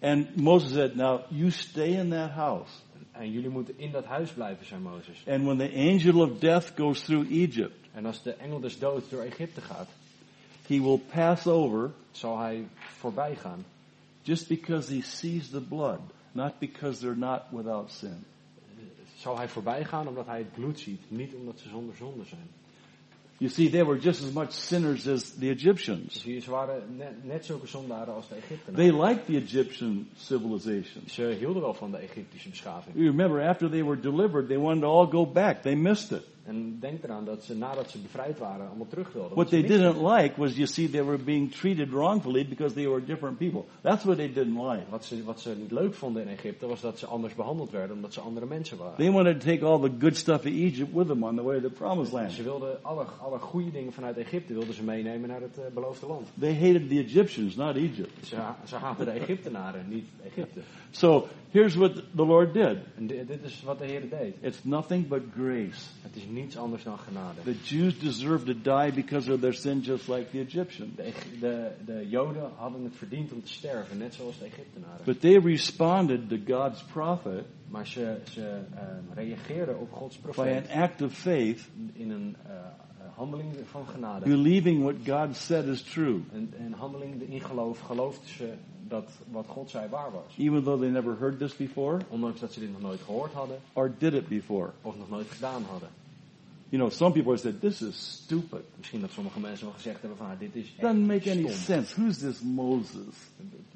S5: And Moses said, Now you stay in that house.
S6: En jullie moeten in dat huis blijven, zei Mozes.
S5: And when the angel of death goes through Egypt,
S6: En als de engel des doods door Egypte gaat,
S5: he will pass over
S6: zal hij voorbij gaan.
S5: just because he sees the blood, not because they're not without sin.
S6: Zal hij voorbij gaan omdat hij het bloed ziet, niet omdat ze zonder zonde zijn.
S5: You see, they were just as much sinners as the Egyptians.
S6: Dus hier- ze waren net, net zulke zondaren als de
S5: They
S6: Egyptenaren.
S5: liked the Egyptian civilization.
S6: Ze hielden wel van de Egyptische beschaving.
S5: You remember, after they were delivered, they wanted to all go back. They missed it.
S6: En denk eraan dat ze nadat ze bevrijd waren, allemaal terug wilden.
S5: What
S6: want
S5: they
S6: ze misten-
S5: didn't like was, you see, they were being treated wrongfully because they were different people. That's what they didn't like.
S6: Wat ze, wat ze niet leuk vonden in Egypte was dat ze anders behandeld werden omdat ze andere mensen waren.
S5: They wanted to take all the good stuff of Egypt with them on the way to the promised
S6: Ze
S5: land.
S6: wilden alle, alle goede dingen vanuit Egypte wilden ze meenemen naar het eh, beloofde land.
S5: They hated the Egyptians, not Egypt.
S6: Ze, ha- ze haatten de Egyptenaren, niet Egypte.
S5: So here's what the Lord did.
S6: En di- dit is wat de Heer deed.
S5: It's nothing but grace.
S6: Het is niets anders dan genade.
S5: The Jews deserve to die because of their sin just like the Egyptians.
S6: De, Eg- de, de Joden hadden het verdiend om te sterven, net zoals de Egyptenaren.
S5: But they responded to God's prophet
S6: Maar ze, ze eh, reageerden op Gods
S5: by an
S6: profeet
S5: act of faith,
S6: in een eh, handeling van genade.
S5: believing what God said is true,
S6: Een, een handeling in geloof geloofden ze dat wat God zei waar was.
S5: even though they never heard this before
S6: Ondanks dat ze dit nog nooit gehoord hadden
S5: or did it before.
S6: of nog nooit gedaan hadden.
S5: You know, some people have said, this is stupid.
S6: Misschien dat sommige mensen wel gezegd hebben van ah, dit is echt
S5: Doesn't make any
S6: stom.
S5: sense. Who's this Moses?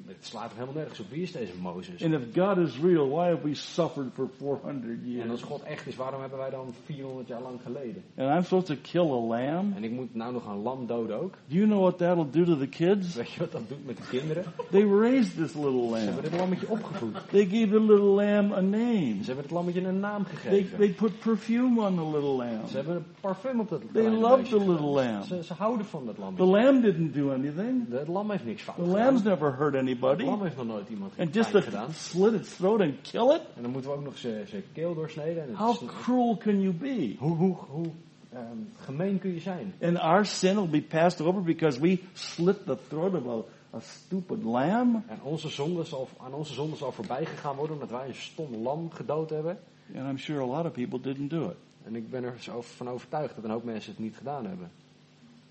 S6: Het slaat er helemaal nergens op. Wie is deze Mozes?
S5: And if God is real, why have we suffered for 400
S6: En als
S5: years?
S6: God echt is, waarom hebben wij dan 400 jaar lang geleden?
S5: And I'm supposed to kill a lamb?
S6: En ik moet nou nog een lam doden ook. (laughs)
S5: Do you know what that'll do to the kids?
S6: Weet je wat dat doet met de kinderen?
S5: They raised this little
S6: Ze
S5: lamb.
S6: hebben dit lammetje opgevoed.
S5: They gave the little lamb a name.
S6: Ze hebben het lammetje een naam
S5: They,
S6: gegeven.
S5: they put perfume on the little lamb.
S6: Ze hebben een parfum op dat
S5: They
S6: kleine
S5: loved
S6: beestje
S5: the little
S6: gedaan.
S5: lamb.
S6: Ze, ze houden van dat
S5: The
S6: lammetje.
S5: lamb didn't do anything.
S6: Het lam heeft niks fout
S5: The
S6: gedaan.
S5: lamb's never hurt
S6: Het
S5: anybody.
S6: lam heeft nog nooit iemand
S5: And
S6: pijn
S5: just to
S6: gedaan.
S5: slit its throat and kill it?
S6: En dan moeten we ook nog zijn zijn keel doorsneden. En het
S5: How
S6: sn-
S5: cruel can you be?
S6: hoe hoe, hoe ehm, gemeen kun je zijn?
S5: And our sin will be passed over because we slit the throat of a, a stupid lamb?
S6: En onze zonde zal, aan onze zonde zal voorbij gegaan worden omdat wij een stom lam gedood hebben.
S5: And I'm sure a lot of people didn't do it.
S6: En ik ben er zo van overtuigd dat een hoop mensen het niet gedaan hebben.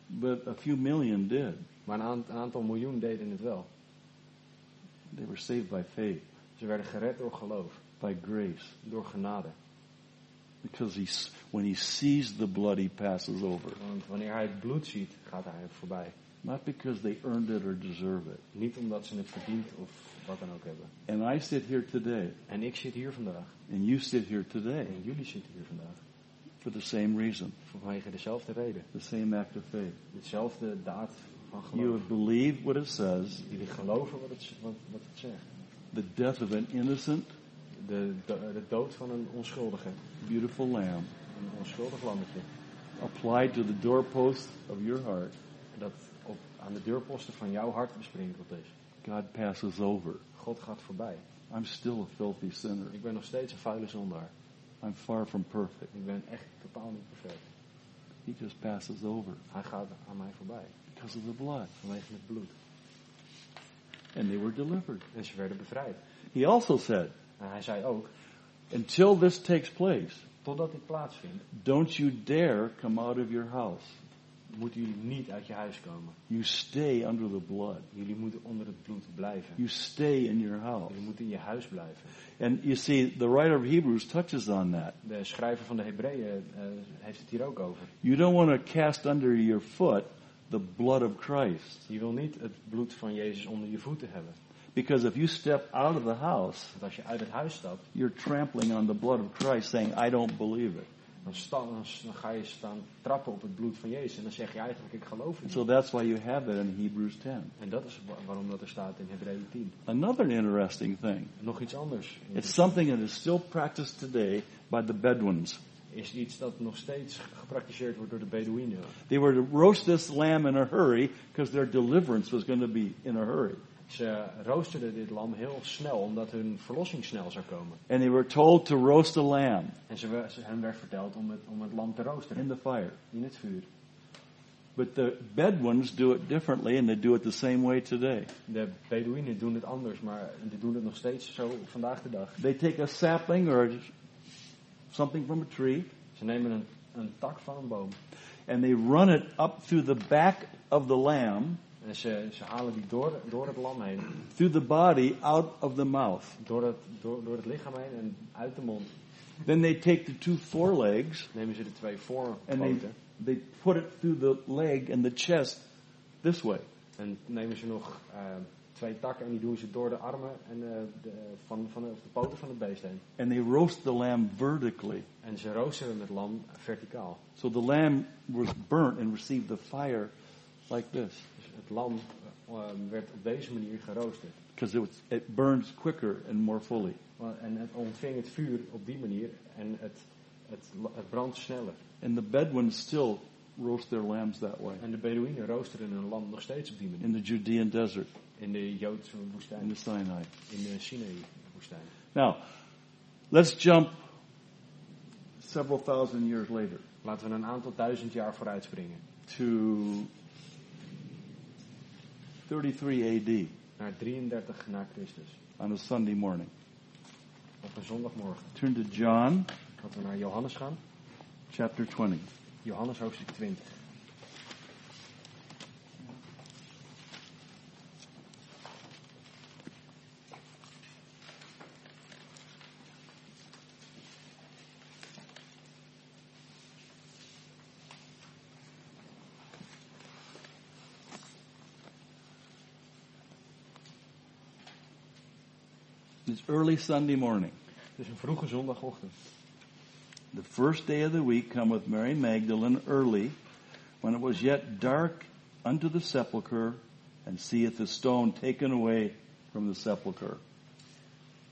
S5: But a few million did.
S6: Maar een, aant- een aantal miljoen deden het wel.
S5: They were saved by faith,
S6: Ze werden gered door geloof,
S5: by grace.
S6: door genade.
S5: Because he, s- when he sees the blood, he passes over.
S6: Want wanneer hij het bloed ziet, gaat hij er voorbij.
S5: Not because they earned it or deserve it.
S6: Niet omdat ze het verdiend of wat dan ook hebben.
S5: And I sit here today,
S6: En ik zit hier vandaag.
S5: and you sit here today,
S6: En jullie zitten hier vandaag.
S5: for the same reason,
S6: Vanwege dezelfde reden.
S5: the same act of faith.
S6: Hetzelfde daad van
S5: You
S6: geloof.
S5: have believed what it says,
S6: Jullie geloven wat het, wat, wat het zegt.
S5: the death of an innocent,
S6: De, de, de dood van een onschuldige.
S5: beautiful lamb,
S6: Een onschuldig lammetje.
S5: applied to the doorpost of your heart.
S6: Dat op, aan de deurposten van jouw hart besprinkeld is.
S5: God passes over.
S6: God gaat voorbij.
S5: I'm still a filthy sinner.
S6: Ik ben nog steeds een vuile zondaar.
S5: I'm far from perfect.
S6: Ik ben echt totaal niet perfect.
S5: He just passes over
S6: Hij gaat aan mij voorbij.
S5: because of the blood.
S6: Vanwege het bloed.
S5: And they were delivered.
S6: En ze werden bevrijd.
S5: He also said,
S6: En hij zei ook,
S5: until this takes place,
S6: totdat dit plaatsvindt,
S5: don't you dare come out of your house.
S6: moeten jullie niet uit je huis komen.
S5: You stay under the blood.
S6: Jullie moeten onder het bloed blijven.
S5: You stay in your house.
S6: Jullie moeten in je huis blijven.
S5: And you see, the writer of Hebrews touches on that.
S6: De schrijver van de Hebreeën eh, heeft het hier ook over.
S5: You don't want to cast under your foot the blood of Christ.
S6: Je wil niet het bloed van Jezus onder je voeten hebben.
S5: Because if you step out of the house,
S6: Want als je uit het huis stapt,
S5: you're trampling on the blood of Christ, saying, I don't believe it.
S6: dan, sta- dan s- dan ga je staan trappen op het bloed van Jezus. En dan zeg je eigenlijk, ik geloof
S5: And
S6: het niet.
S5: so that's why you have that in Hebrews 10.
S6: En dat is wa- waarom dat er staat in Hebreeën 10.
S5: Another interesting thing.
S6: Nog iets anders.
S5: It's something that is still practiced today by the Bedouins.
S6: Is iets dat nog steeds gepraktiseerd wordt door de Bedouinen.
S5: They were to roast this lamb in a hurry because their deliverance was going to be in a hurry.
S6: Ze roosterden dit lam heel snel, omdat hun verlossing snel zou komen.
S5: And they were told to roast a lamb
S6: En ze, we- ze- hen werd verteld om het, om het lam te roosteren
S5: in the fire.
S6: in het vuur.
S5: But the Bedouins do it differently and they do it the same way today.
S6: De Bedouinen doen het anders, maar die doen het nog steeds zo op vandaag de dag.
S5: They take a sapling or something from a tree
S6: Ze nemen een, een tak van een boom
S5: and they run it up through the back of the lamb,
S6: en ze, ze halen die door, door het lam heen,
S5: through the body, out of the mouth.
S6: door het, door, door het lichaam heen en uit de mond
S5: Then they take the two forelegs
S6: nemen ze de twee
S5: and they,
S6: voorpoten
S5: they put it through the leg and the chest this way.
S6: en nemen ze nog eh, twee takken en die doen ze door de armen en eh, de, van, van de, of de poten van het beest heen.
S5: And they roast the lamb vertically.
S6: En ze roosteren het lam verticaal.
S5: So the lamb was burnt and received the fire like this
S6: Dus het lam eh, werd op deze manier geroosterd.
S5: because it, was, it burns quicker and more fully.
S6: Want- En het ontving het vuur op die manier en het, het, la- het brandt sneller.
S5: And the Bedouins still roast their lambs that way
S6: En de Bedouinen roosteren hun lam nog steeds op die manier.
S5: in the Judean desert,
S6: In de Joodse
S5: in the
S6: woestijn,
S5: Sinai.
S6: in de Sinaï-woestijn.
S5: Now, let's jump several thousand years later
S6: Laten we een aantal duizend jaar vooruit springen.
S5: to 33 AD
S6: Naar 33 na Christus.
S5: on a Sunday morning.
S6: Op een zondagmorgen.
S5: Turn to John
S6: Laten we naar Johannes gaan.
S5: chapter 20.
S6: Johannes hoofdstuk 20.
S5: It's early Sunday morning.
S6: Het is een vroege zondagochtend.
S5: The first day of the week cometh Mary Magdalene early, when it was yet dark, unto the sepulchre, and seeth the stone taken away from the sepulchre.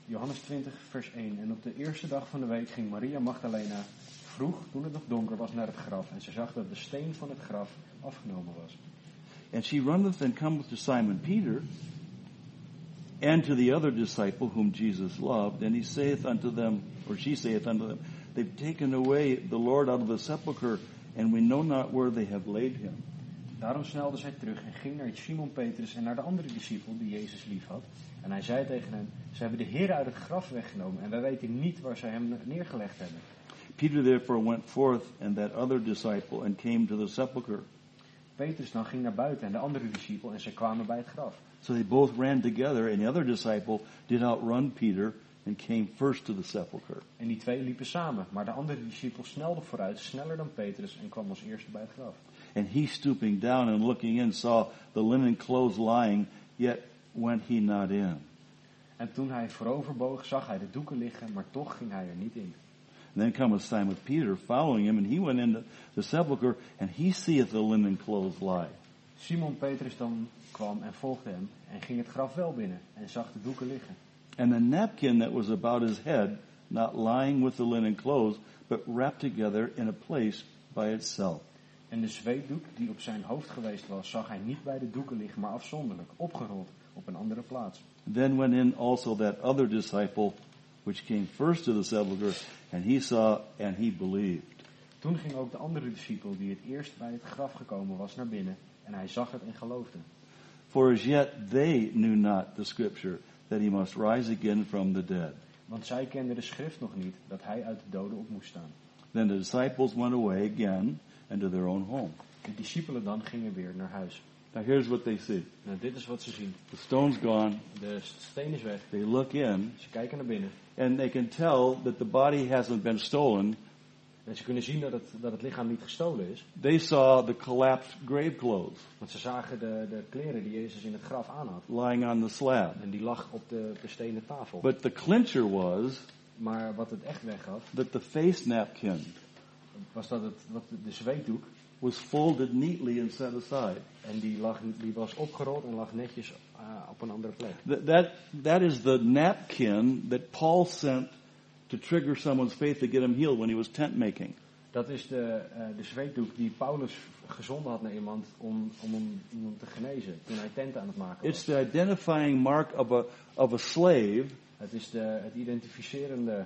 S6: Johannes 20, vers 1. En op de eerste dag van de week ging Maria Magdalena vroeg, toen het nog donker was, naar het graf. En ze zag dat de steen van het graf afgenomen was.
S5: And she runneth and cometh to Simon Peter, and to the other disciple whom Jesus loved, and he saith unto them, or she saith unto them, They've taken away the Lord out of the sepulchre, and we know not where they have laid him.
S6: Daarom snelde zij terug en ging naar Simon Petrus en naar de andere discipel die Jezus liefhad. En hij zei tegen hem, ze hebben de Heer uit het graf weggenomen en wij weten niet waar ze hem neergelegd hebben.
S5: Peter therefore went forth, and that other disciple, and came to the sepulchre.
S6: Petrus dan ging naar buiten en de andere discipel en ze kwamen bij het graf.
S5: So they both ran together, and the other disciple did outrun Peter and came first to the sepulchre.
S6: En die twee liepen samen, maar de andere discipel snelde vooruit, sneller dan Petrus en kwam als eerste bij het graf.
S5: And he, stooping down and looking in, saw the linen clothes lying, yet went he not in.
S6: En toen hij vooroverboog, zag hij de doeken liggen, maar toch ging hij er niet in.
S5: And then cometh Simon Peter, following him, and he went into the sepulchre, and he seeth the linen clothes lie.
S6: Simon Petrus dan kwam en volgde hem en ging het graf wel binnen en zag de doeken liggen.
S5: And the napkin that was about his head, not lying with the linen clothes, but wrapped together in a place by itself.
S6: En de zweetdoek die op zijn hoofd geweest was, zag hij niet bij de doeken liggen, maar afzonderlijk, opgerold, op een andere plaats.
S5: Then went in also that other disciple, which came first to the sepulchre, and he saw and he believed.
S6: Toen ging ook de andere discipel, die het eerst bij het graf gekomen was, naar binnen en hij zag het en geloofde.
S5: For as yet they knew not the scripture that he must rise again from the dead.
S6: Want zij kenden de schrift nog niet, dat hij uit de doden op moest staan.
S5: Then the disciples went away again into their own home.
S6: De discipelen dan gingen weer naar huis.
S5: Now here's what they see.
S6: Nou, dit is wat ze zien.
S5: The stone's gone.
S6: De steen is weg.
S5: They look in
S6: Ze kijken naar binnen.
S5: and they can tell that the body hasn't been stolen.
S6: En ze kunnen zien dat het, dat het lichaam niet gestolen is.
S5: They saw the collapsed grave clothes
S6: Want ze zagen de, de kleren die Jezus in het graf aan had.
S5: lying on the slab.
S6: En die lag op de, op de stenen tafel.
S5: But the clincher was
S6: Maar wat het echt weggaf,
S5: that the face napkin
S6: was dat het, wat de zweetdoek.
S5: was folded neatly and set aside.
S6: En die, lag, die was opgerold en lag netjes eh, op een andere plek.
S5: Th- that, that is the napkin that Paul sent to trigger someone's faith to get him healed when he was tent making.
S6: Dat is de, eh, de zweetdoek die Paulus gezonden had naar iemand om, om, hem, om hem te genezen. Toen hij tenten aan het maken
S5: It's
S6: was.
S5: the identifying mark of a, of a slave
S6: Het is de, het identificerende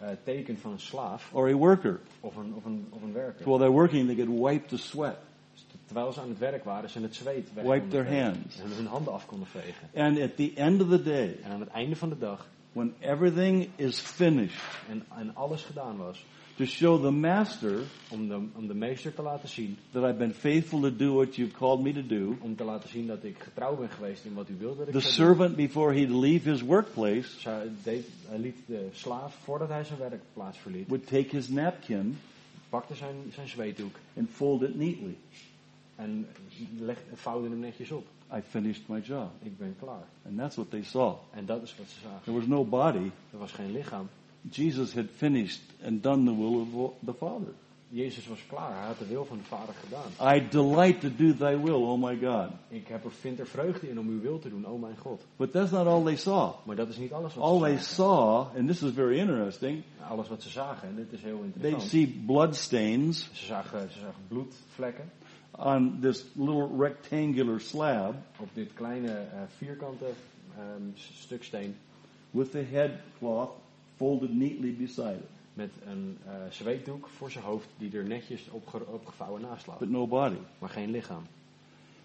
S6: eh, teken van een slaaf
S5: or a worker.
S6: of een, of een, of een werker.
S5: While they're working, they could wipe the sweat.
S6: Dus t- Terwijl ze aan het werk waren, ze het zweet weg
S5: Wipe
S6: konden
S5: their
S6: vegen.
S5: hands.
S6: En hun handen af konden vegen.
S5: And at the end of the day,
S6: En aan het einde van de dag,
S5: when everything is finished,
S6: en, en alles gedaan was,
S5: to show the master
S6: om de, om de meester te laten zien,
S5: that I've been faithful to do what you've called me to do,
S6: om te laten zien dat ik getrouw ben geweest in wat u wilde dat ik
S5: the
S6: zou doen.
S5: servant before he'd leave his workplace
S6: Zij deed, hij liet de slaaf, voordat hij zijn werkplaats verliet,
S5: would take his napkin
S6: pakte zijn, zijn zweetdoek
S5: and fold it neatly.
S6: en leg, vouwde hem netjes op.
S5: I finished my job.
S6: Ik ben klaar.
S5: And that's what they saw.
S6: En dat is wat ze zagen.
S5: There was no body.
S6: Er was geen lichaam.
S5: Jesus had finished and done the will of the Father.
S6: Jezus was klaar. Hij had de wil van de Vader gedaan.
S5: I delight to do thy will, oh my God.
S6: Ik heb er, vind er vreugde in om uw wil te doen, oh mijn God.
S5: But that's not all they saw.
S6: Maar dat is niet alles wat
S5: All
S6: ze
S5: they
S6: zagen.
S5: saw, and this is very interesting,
S6: Alles wat ze zagen, en dit is heel
S5: they
S6: interessant.
S5: see blood stains
S6: Ze zagen, ze zagen bloedvlekken
S5: on this little rectangular slab
S6: op dit kleine eh, vierkante ehm, s- stuk steen
S5: with the headcloth folded neatly beside it,
S6: met een eh, zweetdoek voor zijn hoofd die er netjes opge- opgevouwen naast lag.
S5: but no body.
S6: Maar geen lichaam.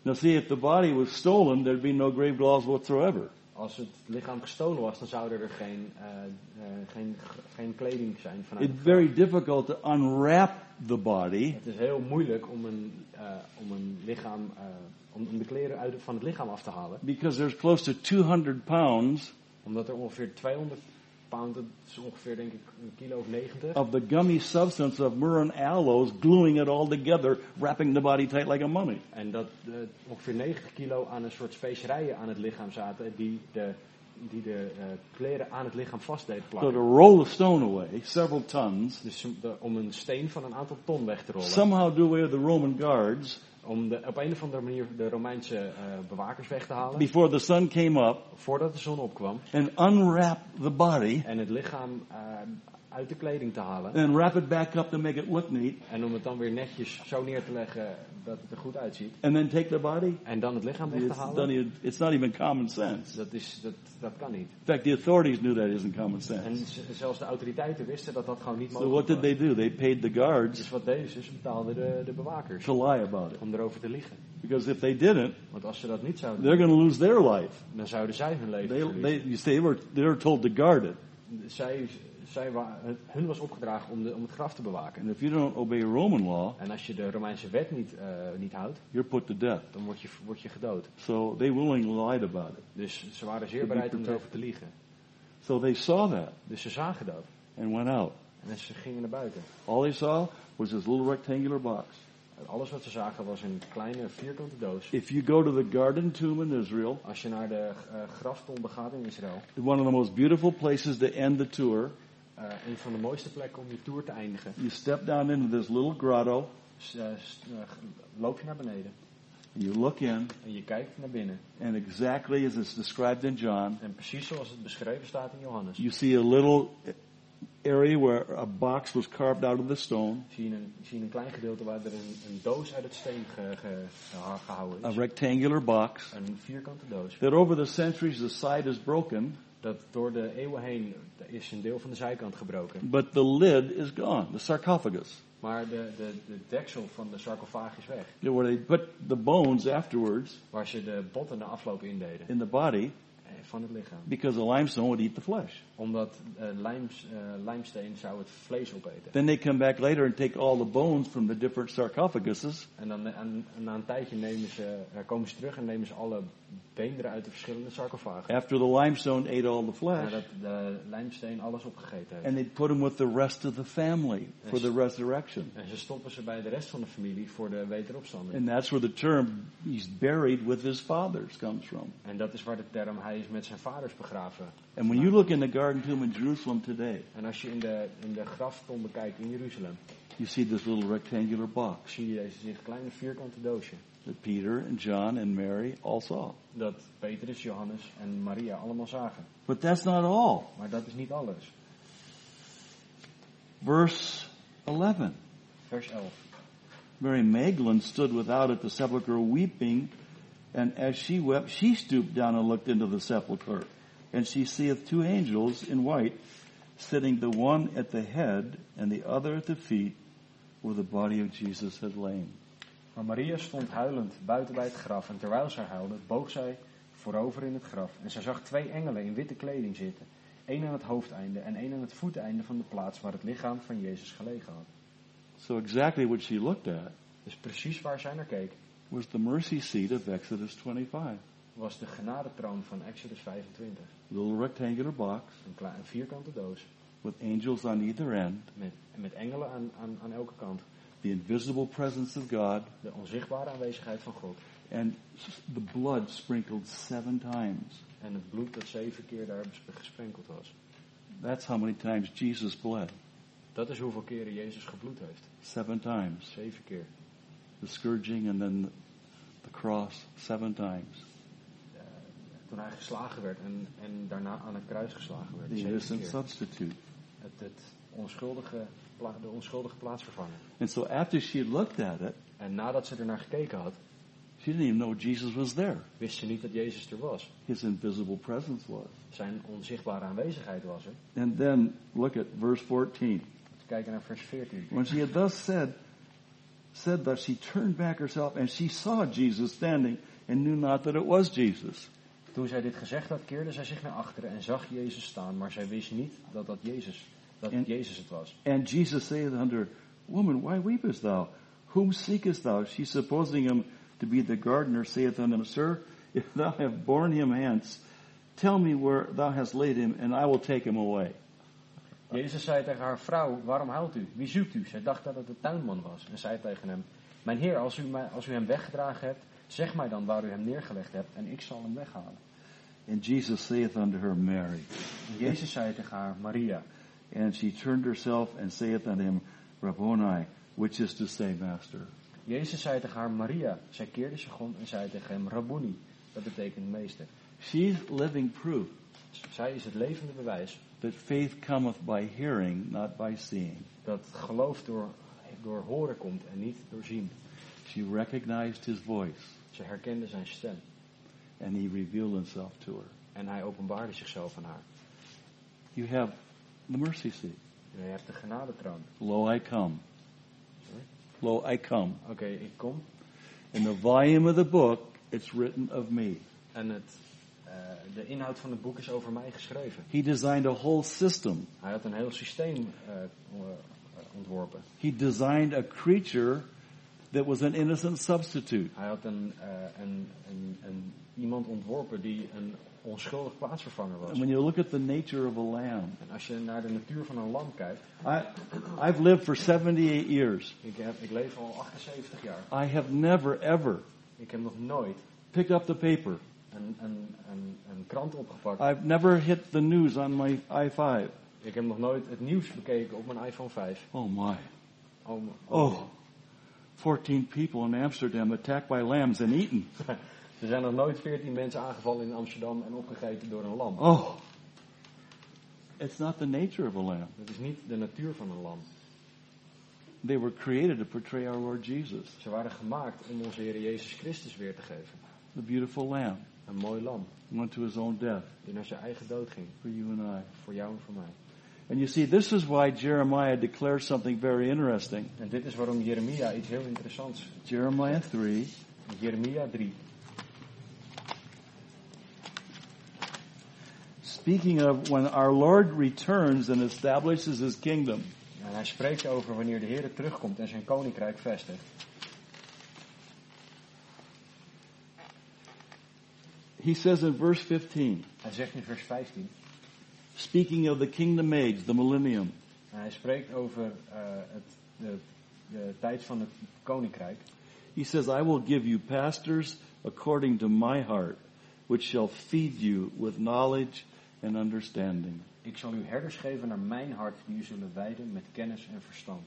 S5: Now see, if the body was stolen, there'd be no grave clothes whatsoever.
S6: Als het lichaam gestolen was, dan zouden er geen, eh, eh, geen, geen kleding zijn vanuit
S5: It's
S6: het
S5: very
S6: graf.
S5: difficult to unwrap the body
S6: Het is heel moeilijk om een, eh, om een lichaam, eh, om, om de kleren uit, van het lichaam af te halen.
S5: because there's close to 200 pounds
S6: Omdat er ongeveer 200 pound, dat is ongeveer denk ik een kilo of 90,
S5: of the gummy substance of myrrh and aloes gluing it all together, wrapping the body tight like a mummy.
S6: En dat eh, ongeveer 90 kilo aan een soort specerijen aan het lichaam zaten die de die de eh, kleren aan het lichaam vast deed
S5: So to
S6: plakken.
S5: roll a stone away, several tons,
S6: Dus om- de- om een steen van een aantal ton weg te rollen.
S5: somehow do away with the Roman guards
S6: Om de, op een of andere manier de Romeinse eh, bewakers weg te halen.
S5: before the sun came up
S6: Voordat de zon opkwam.
S5: and unwrap the body
S6: En het lichaam eh, uit de kleding te halen.
S5: and wrap it back up to make it look neat
S6: En om het dan weer netjes zo neer te leggen dat het er goed uitziet.
S5: and then take the body.
S6: En dan het lichaam weg te
S5: It's, not
S6: halen.
S5: even, it's not even common sense.
S6: Dat, is, dat, dat kan niet.
S5: In fact, the authorities knew that isn't common
S6: En
S5: sense.
S6: z- zelfs de autoriteiten wisten dat dat gewoon niet
S5: So
S6: mogelijk
S5: what did
S6: was.
S5: they do? They paid the guards
S6: Dus wat deden ze? Ze betaalden de, de bewakers
S5: to lie about it.
S6: om erover te liegen.
S5: Because if they didn't,
S6: Want als ze dat niet zouden
S5: they're going to lose their life.
S6: doen, dan zouden zij hun leven
S5: They, they,
S6: verliezen.
S5: you see, they were, they were told to guard it.
S6: Zij, zij wa- het- hun was opgedragen om, de, om het graf te bewaken.
S5: And if you don't obey Roman law,
S6: En als je de Romeinse wet niet, eh, niet houdt,
S5: you're put to death.
S6: dan word je, word je gedood.
S5: So they willingly lied about it.
S6: Dus ze waren zeer bereid om erover te liegen.
S5: So they saw that
S6: Dus ze zagen dat.
S5: and went out.
S6: En ze gingen naar buiten.
S5: All they saw was this little rectangular box.
S6: En Alles wat ze zagen was een kleine vierkante doos.
S5: If you go to the Garden Tomb in Israel,
S6: Als je naar de eh graftombe gaat in Israël,
S5: one of the most beautiful places to end the tour,
S6: eh, een van de mooiste plekken om je tour te eindigen,
S5: you step down into this little grotto,
S6: s- eh, s- eh, loop je naar beneden
S5: and you look in,
S6: en je kijkt naar binnen.
S5: and exactly as it's described in John,
S6: En precies zoals het beschreven staat in Johannes,
S5: you see a little area where a box was carved out of the stone,
S6: zie je een, zie je een klein gedeelte waar er een, een doos uit het steen ge- ge- geha- gehouden
S5: a
S6: is.
S5: rectangular box,
S6: Een vierkante doos.
S5: that over the centuries the side is broken,
S6: Dat door de eeuwen heen is een deel van de zijkant gebroken.
S5: but the lid is gone, the sarcophagus.
S6: Maar de, de, de deksel van de sarcofaag is weg.
S5: Where they put the bones afterwards
S6: Waar ze de botten na afloop indeden
S5: in the body
S6: eh, van het lichaam.
S5: because the limestone would eat the flesh.
S6: Omdat eh, lijms, eh, lijmsteen zou het vlees opeten.
S5: Then they come back later and take all the bones from the different sarcophaguses
S6: En dan eh, en- en na een tijdje nemen ze, eh, komen ze terug en nemen ze alle beenderen uit de verschillende sarcofagen.
S5: after the limestone ate all the flesh,
S6: Nadat de lijmsteen alles opgegeten heeft.
S5: and they'd put them with the rest of the family for the resurrection.
S6: En ze stoppen ze bij de rest van de familie voor de wederopstanding.
S5: And that's where the term "he's buried with his fathers" comes from.
S6: En dat is waar de term hij is met zijn vaders begraven.
S5: And when you look in the Garden Tomb in Jerusalem today,
S6: En als je in de, in de graftombe kijkt in Jeruzalem,
S5: you see this little rectangular box
S6: zie je deze dit kleine vierkante doosje.
S5: that Peter and John and Mary all saw.
S6: Dat Petrus, Johannes en Maria allemaal zagen.
S5: But that's not all.
S6: Maar dat is niet alles.
S5: Verse 11.
S6: Vers 11.
S5: Mary Magdalene stood without at the sepulchre weeping, and as she wept, she stooped down and looked into the sepulchre. And she seeth two angels in white, sitting the one at the head and the other at the feet, where the body of Jesus had lain.
S6: Maar Maria stond huilend buiten bij het graf en terwijl zij huilde, boog zij voorover in het graf. En zij zag twee engelen in witte kleding zitten. één aan het hoofdeinde en één aan het voeteinde van de plaats waar het lichaam van Jezus gelegen had.
S5: So exactly what she looked at
S6: Dus precies waar zij naar keek,
S5: was the mercy seat of Exodus 25.
S6: was de genadetroon van Exodus 25.
S5: Little rectangular box
S6: Een, klein, een vierkante doos
S5: with angels on either end,
S6: met, en met engelen aan, aan, aan elke kant.
S5: the invisible presence of God,
S6: De onzichtbare aanwezigheid van God.
S5: and s- the blood sprinkled seven times.
S6: En het bloed dat zeven keer daar bes- gesprenkeld was.
S5: That's how many times Jesus bled.
S6: Dat is hoeveel keren Jezus gebloed heeft.
S5: Seven times.
S6: Zeven keer.
S5: The scourging and then the cross seven times.
S6: Toen hij geslagen werd en, en daarna aan het kruis geslagen werd.
S5: The
S6: Zeven
S5: innocent
S6: keer.
S5: substitute.
S6: Het, het onschuldige, pla- de onschuldige plaatsvervanger.
S5: And so after she looked at it,
S6: En nadat ze ernaar gekeken had,
S5: she didn't even know Jesus was there.
S6: wist ze niet dat Jezus er was.
S5: His invisible presence was.
S6: Zijn onzichtbare aanwezigheid was er.
S5: And then look at verse 14.
S6: Te kijken naar vers 14.
S5: When she had thus said, said thus, she turned back herself and she saw Jesus standing and knew not that it was Jesus.
S6: Toen zij dit gezegd had, keerde zij zich naar achteren en zag Jezus staan. Maar zij wist niet dat dat Jezus, dat
S5: En-
S6: Jezus het was.
S5: And Jesus saith unto her, Woman, why weepest thou? Whom seekest thou? She, supposing him to be the gardener, saith unto him, Sir, if thou have borne him hence, tell me where thou hast laid him, and I will take him away.
S6: Jezus zei tegen haar vrouw, waarom huilt u? Wie zoekt u? Zij dacht dat het de tuinman was en zei tegen hem, mijn heer, als u, mij, als u hem weggedragen hebt, zeg mij dan waar u hem neergelegd hebt en ik zal hem weghalen.
S5: And Jesus saith unto her, Mary.
S6: En Jezus zei tegen haar, Maria.
S5: And she turned herself and saith unto him, Rabboni, which is to say, Master.
S6: Jezus zei tegen haar, Maria. Zij keerde zich om en zei tegen hem, Rabboni. Dat betekent meester.
S5: She's living proof
S6: Zij is het levende bewijs
S5: that faith cometh by hearing, not by seeing.
S6: dat geloof door, door horen komt en niet door zien.
S5: She recognized his voice,
S6: Ze herkende zijn stem
S5: and he revealed himself to her.
S6: en hij openbaarde zichzelf aan haar.
S5: You have the mercy seat.
S6: En hij hebt de genadetroon.
S5: Lo, I come.
S6: Sorry?
S5: Lo, I come.
S6: Oké, ik kom.
S5: In the volume of the book, it's written of me.
S6: En het, eh, de inhoud van het boek is over mij geschreven.
S5: He designed a whole system.
S6: Hij had een heel systeem eh, eh, ontworpen.
S5: He designed a creature that was an innocent substitute.
S6: Hij had een, eh, een, een, een, iemand ontworpen die een onschuldig plaatsvervanger was.
S5: And when you look at the nature of a lamb,
S6: En als je naar de natuur van een lam kijkt,
S5: I, I've lived for 78 years.
S6: ik, heb, ik leef al 78
S5: I
S6: jaar.
S5: have never, ever
S6: Ik heb nog nooit
S5: picked up the paper.
S6: een, een, een, een krant opgepakt.
S5: I've never hit the news on my i5.
S6: Ik heb nog nooit het nieuws bekeken op mijn iPhone 5.
S5: Oh my.
S6: Oh, m-
S5: Oh. 14 people in Amsterdam attacked by lambs and eaten.
S6: Er zijn nog nooit 14 mensen aangevallen in Amsterdam en opgegeten door een lam.
S5: Oh. It's not the nature of a lamb.
S6: Dat is niet de natuur van een lam.
S5: They were created to portray our Lord Jesus,
S6: Ze waren gemaakt om onze Heer Jezus Christus weer te geven.
S5: the beautiful lamb,
S6: Een mooi lam,
S5: who went to his own death
S6: die naar zijn eigen dood ging.
S5: for you and I.
S6: Voor jou en voor mij.
S5: And you see, this is why Jeremiah declares something very interesting.
S6: En dit is waarom Jeremia iets heel interessants.
S5: Jeremiah 3,
S6: Jeremia 3.
S5: speaking of when our Lord returns and establishes his kingdom.
S6: En hij spreekt over wanneer de Heer terugkomt en zijn koninkrijk vestigt.
S5: He says in verse 15,
S6: Hij zegt in vers 15.
S5: speaking of the kingdom age, the millennium,
S6: En hij spreekt over eh, het, de, de tijd van het koninkrijk.
S5: he says, I will give you pastors according to my heart, which shall feed you with knowledge and understanding.
S6: Ik zal u herders geven naar mijn hart, die u zullen wijden met kennis en verstand.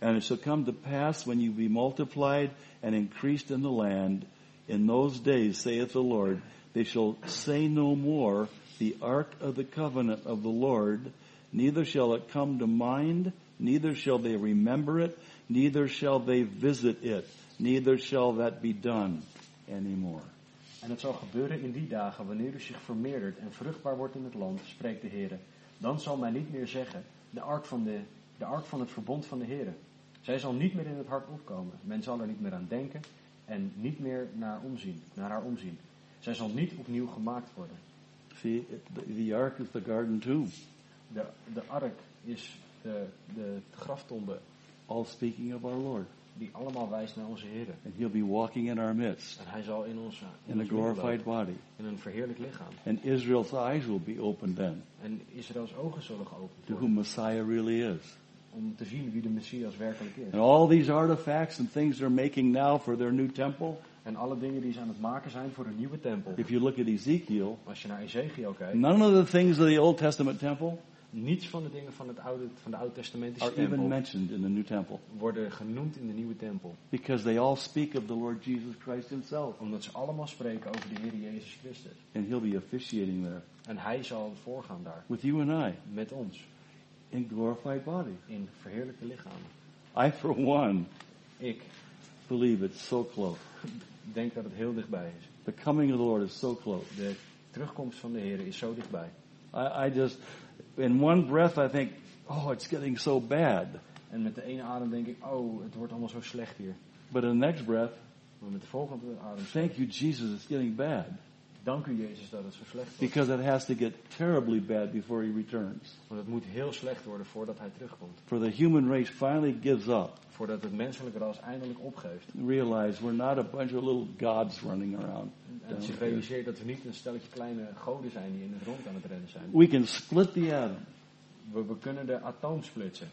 S5: And it shall come to pass when you be multiplied and increased in the land, in those days, saith the Lord, they shall say no more the ark of the covenant of the Lord, neither shall it come to mind, neither shall they remember it, neither shall they visit it, neither shall that be done anymore.
S6: En het zal gebeuren in die dagen, wanneer u zich vermeerdert en vruchtbaar wordt in het land, spreekt de Heer. Dan zal mij niet meer zeggen, de ark van, de, de ark van het verbond van de Heer. Zij zal niet meer in het hart opkomen. Men zal er niet meer aan denken en niet meer naar, omzien, naar haar omzien. Zij zal niet opnieuw gemaakt worden.
S5: See, it- the, the ark is the garden too,
S6: De, de ark is de, de graftombe
S5: all speaking of our Lord.
S6: die allemaal wijst naar onze Heer.
S5: And he'll be walking in our midst
S6: En hij zal in ons, in
S5: in a
S6: ons midden
S5: glorified
S6: lopen,
S5: body.
S6: in een verheerlijk lichaam.
S5: And Israel's eyes will be opened then.
S6: En Israëls ogen zullen geopend
S5: to
S6: worden
S5: who Messiah really is.
S6: om te zien wie de Messias werkelijk is.
S5: And all these artifacts and things they're making now for their new temple,
S6: En alle dingen die ze aan het maken zijn voor een nieuwe tempel.
S5: if you look at Ezekiel,
S6: Als je naar Ezekiel kijkt,
S5: none of the things of the Old Testament temple
S6: niets van de dingen van, het oude, van de
S5: are
S6: oud-testamentische
S5: even
S6: tempel
S5: mentioned in the new temple
S6: worden genoemd in de nieuwe tempel.
S5: because they all speak of the Lord Jesus Christ himself
S6: Omdat ze allemaal spreken over de Heer Jezus Christus.
S5: and he'll be officiating there
S6: En Hij zal voorgaan daar,
S5: with you and I
S6: met ons,
S5: in glorified body.
S6: in verheerlijke lichamen.
S5: I for one
S6: Ik
S5: believe it's so close.
S6: denk dat het heel dichtbij is.
S5: The coming of the Lord is so close.
S6: De terugkomst van de Heer is zo dichtbij.
S5: I, I just, in one breath I think, oh, it's getting so bad.
S6: En met de ene adem denk ik, oh, het wordt allemaal zo slecht hier.
S5: But in the next breath,
S6: Maar met de volgende adem,
S5: thank you Jesus, it's getting bad.
S6: dank u Jezus dat het zo slecht wordt.
S5: Because it has to get terribly bad before he returns.
S6: Want het moet heel slecht worden voordat Hij terugkomt.
S5: For the human race finally gives up,
S6: Voordat het menselijk ras eindelijk opgeeft.
S5: and realize we're not a bunch of little gods running around.
S6: En zich dus realiseert dat we niet een stelletje kleine goden zijn die in het rond aan het rennen zijn.
S5: We can split the atom.
S6: We, we kunnen de atoom splitsen.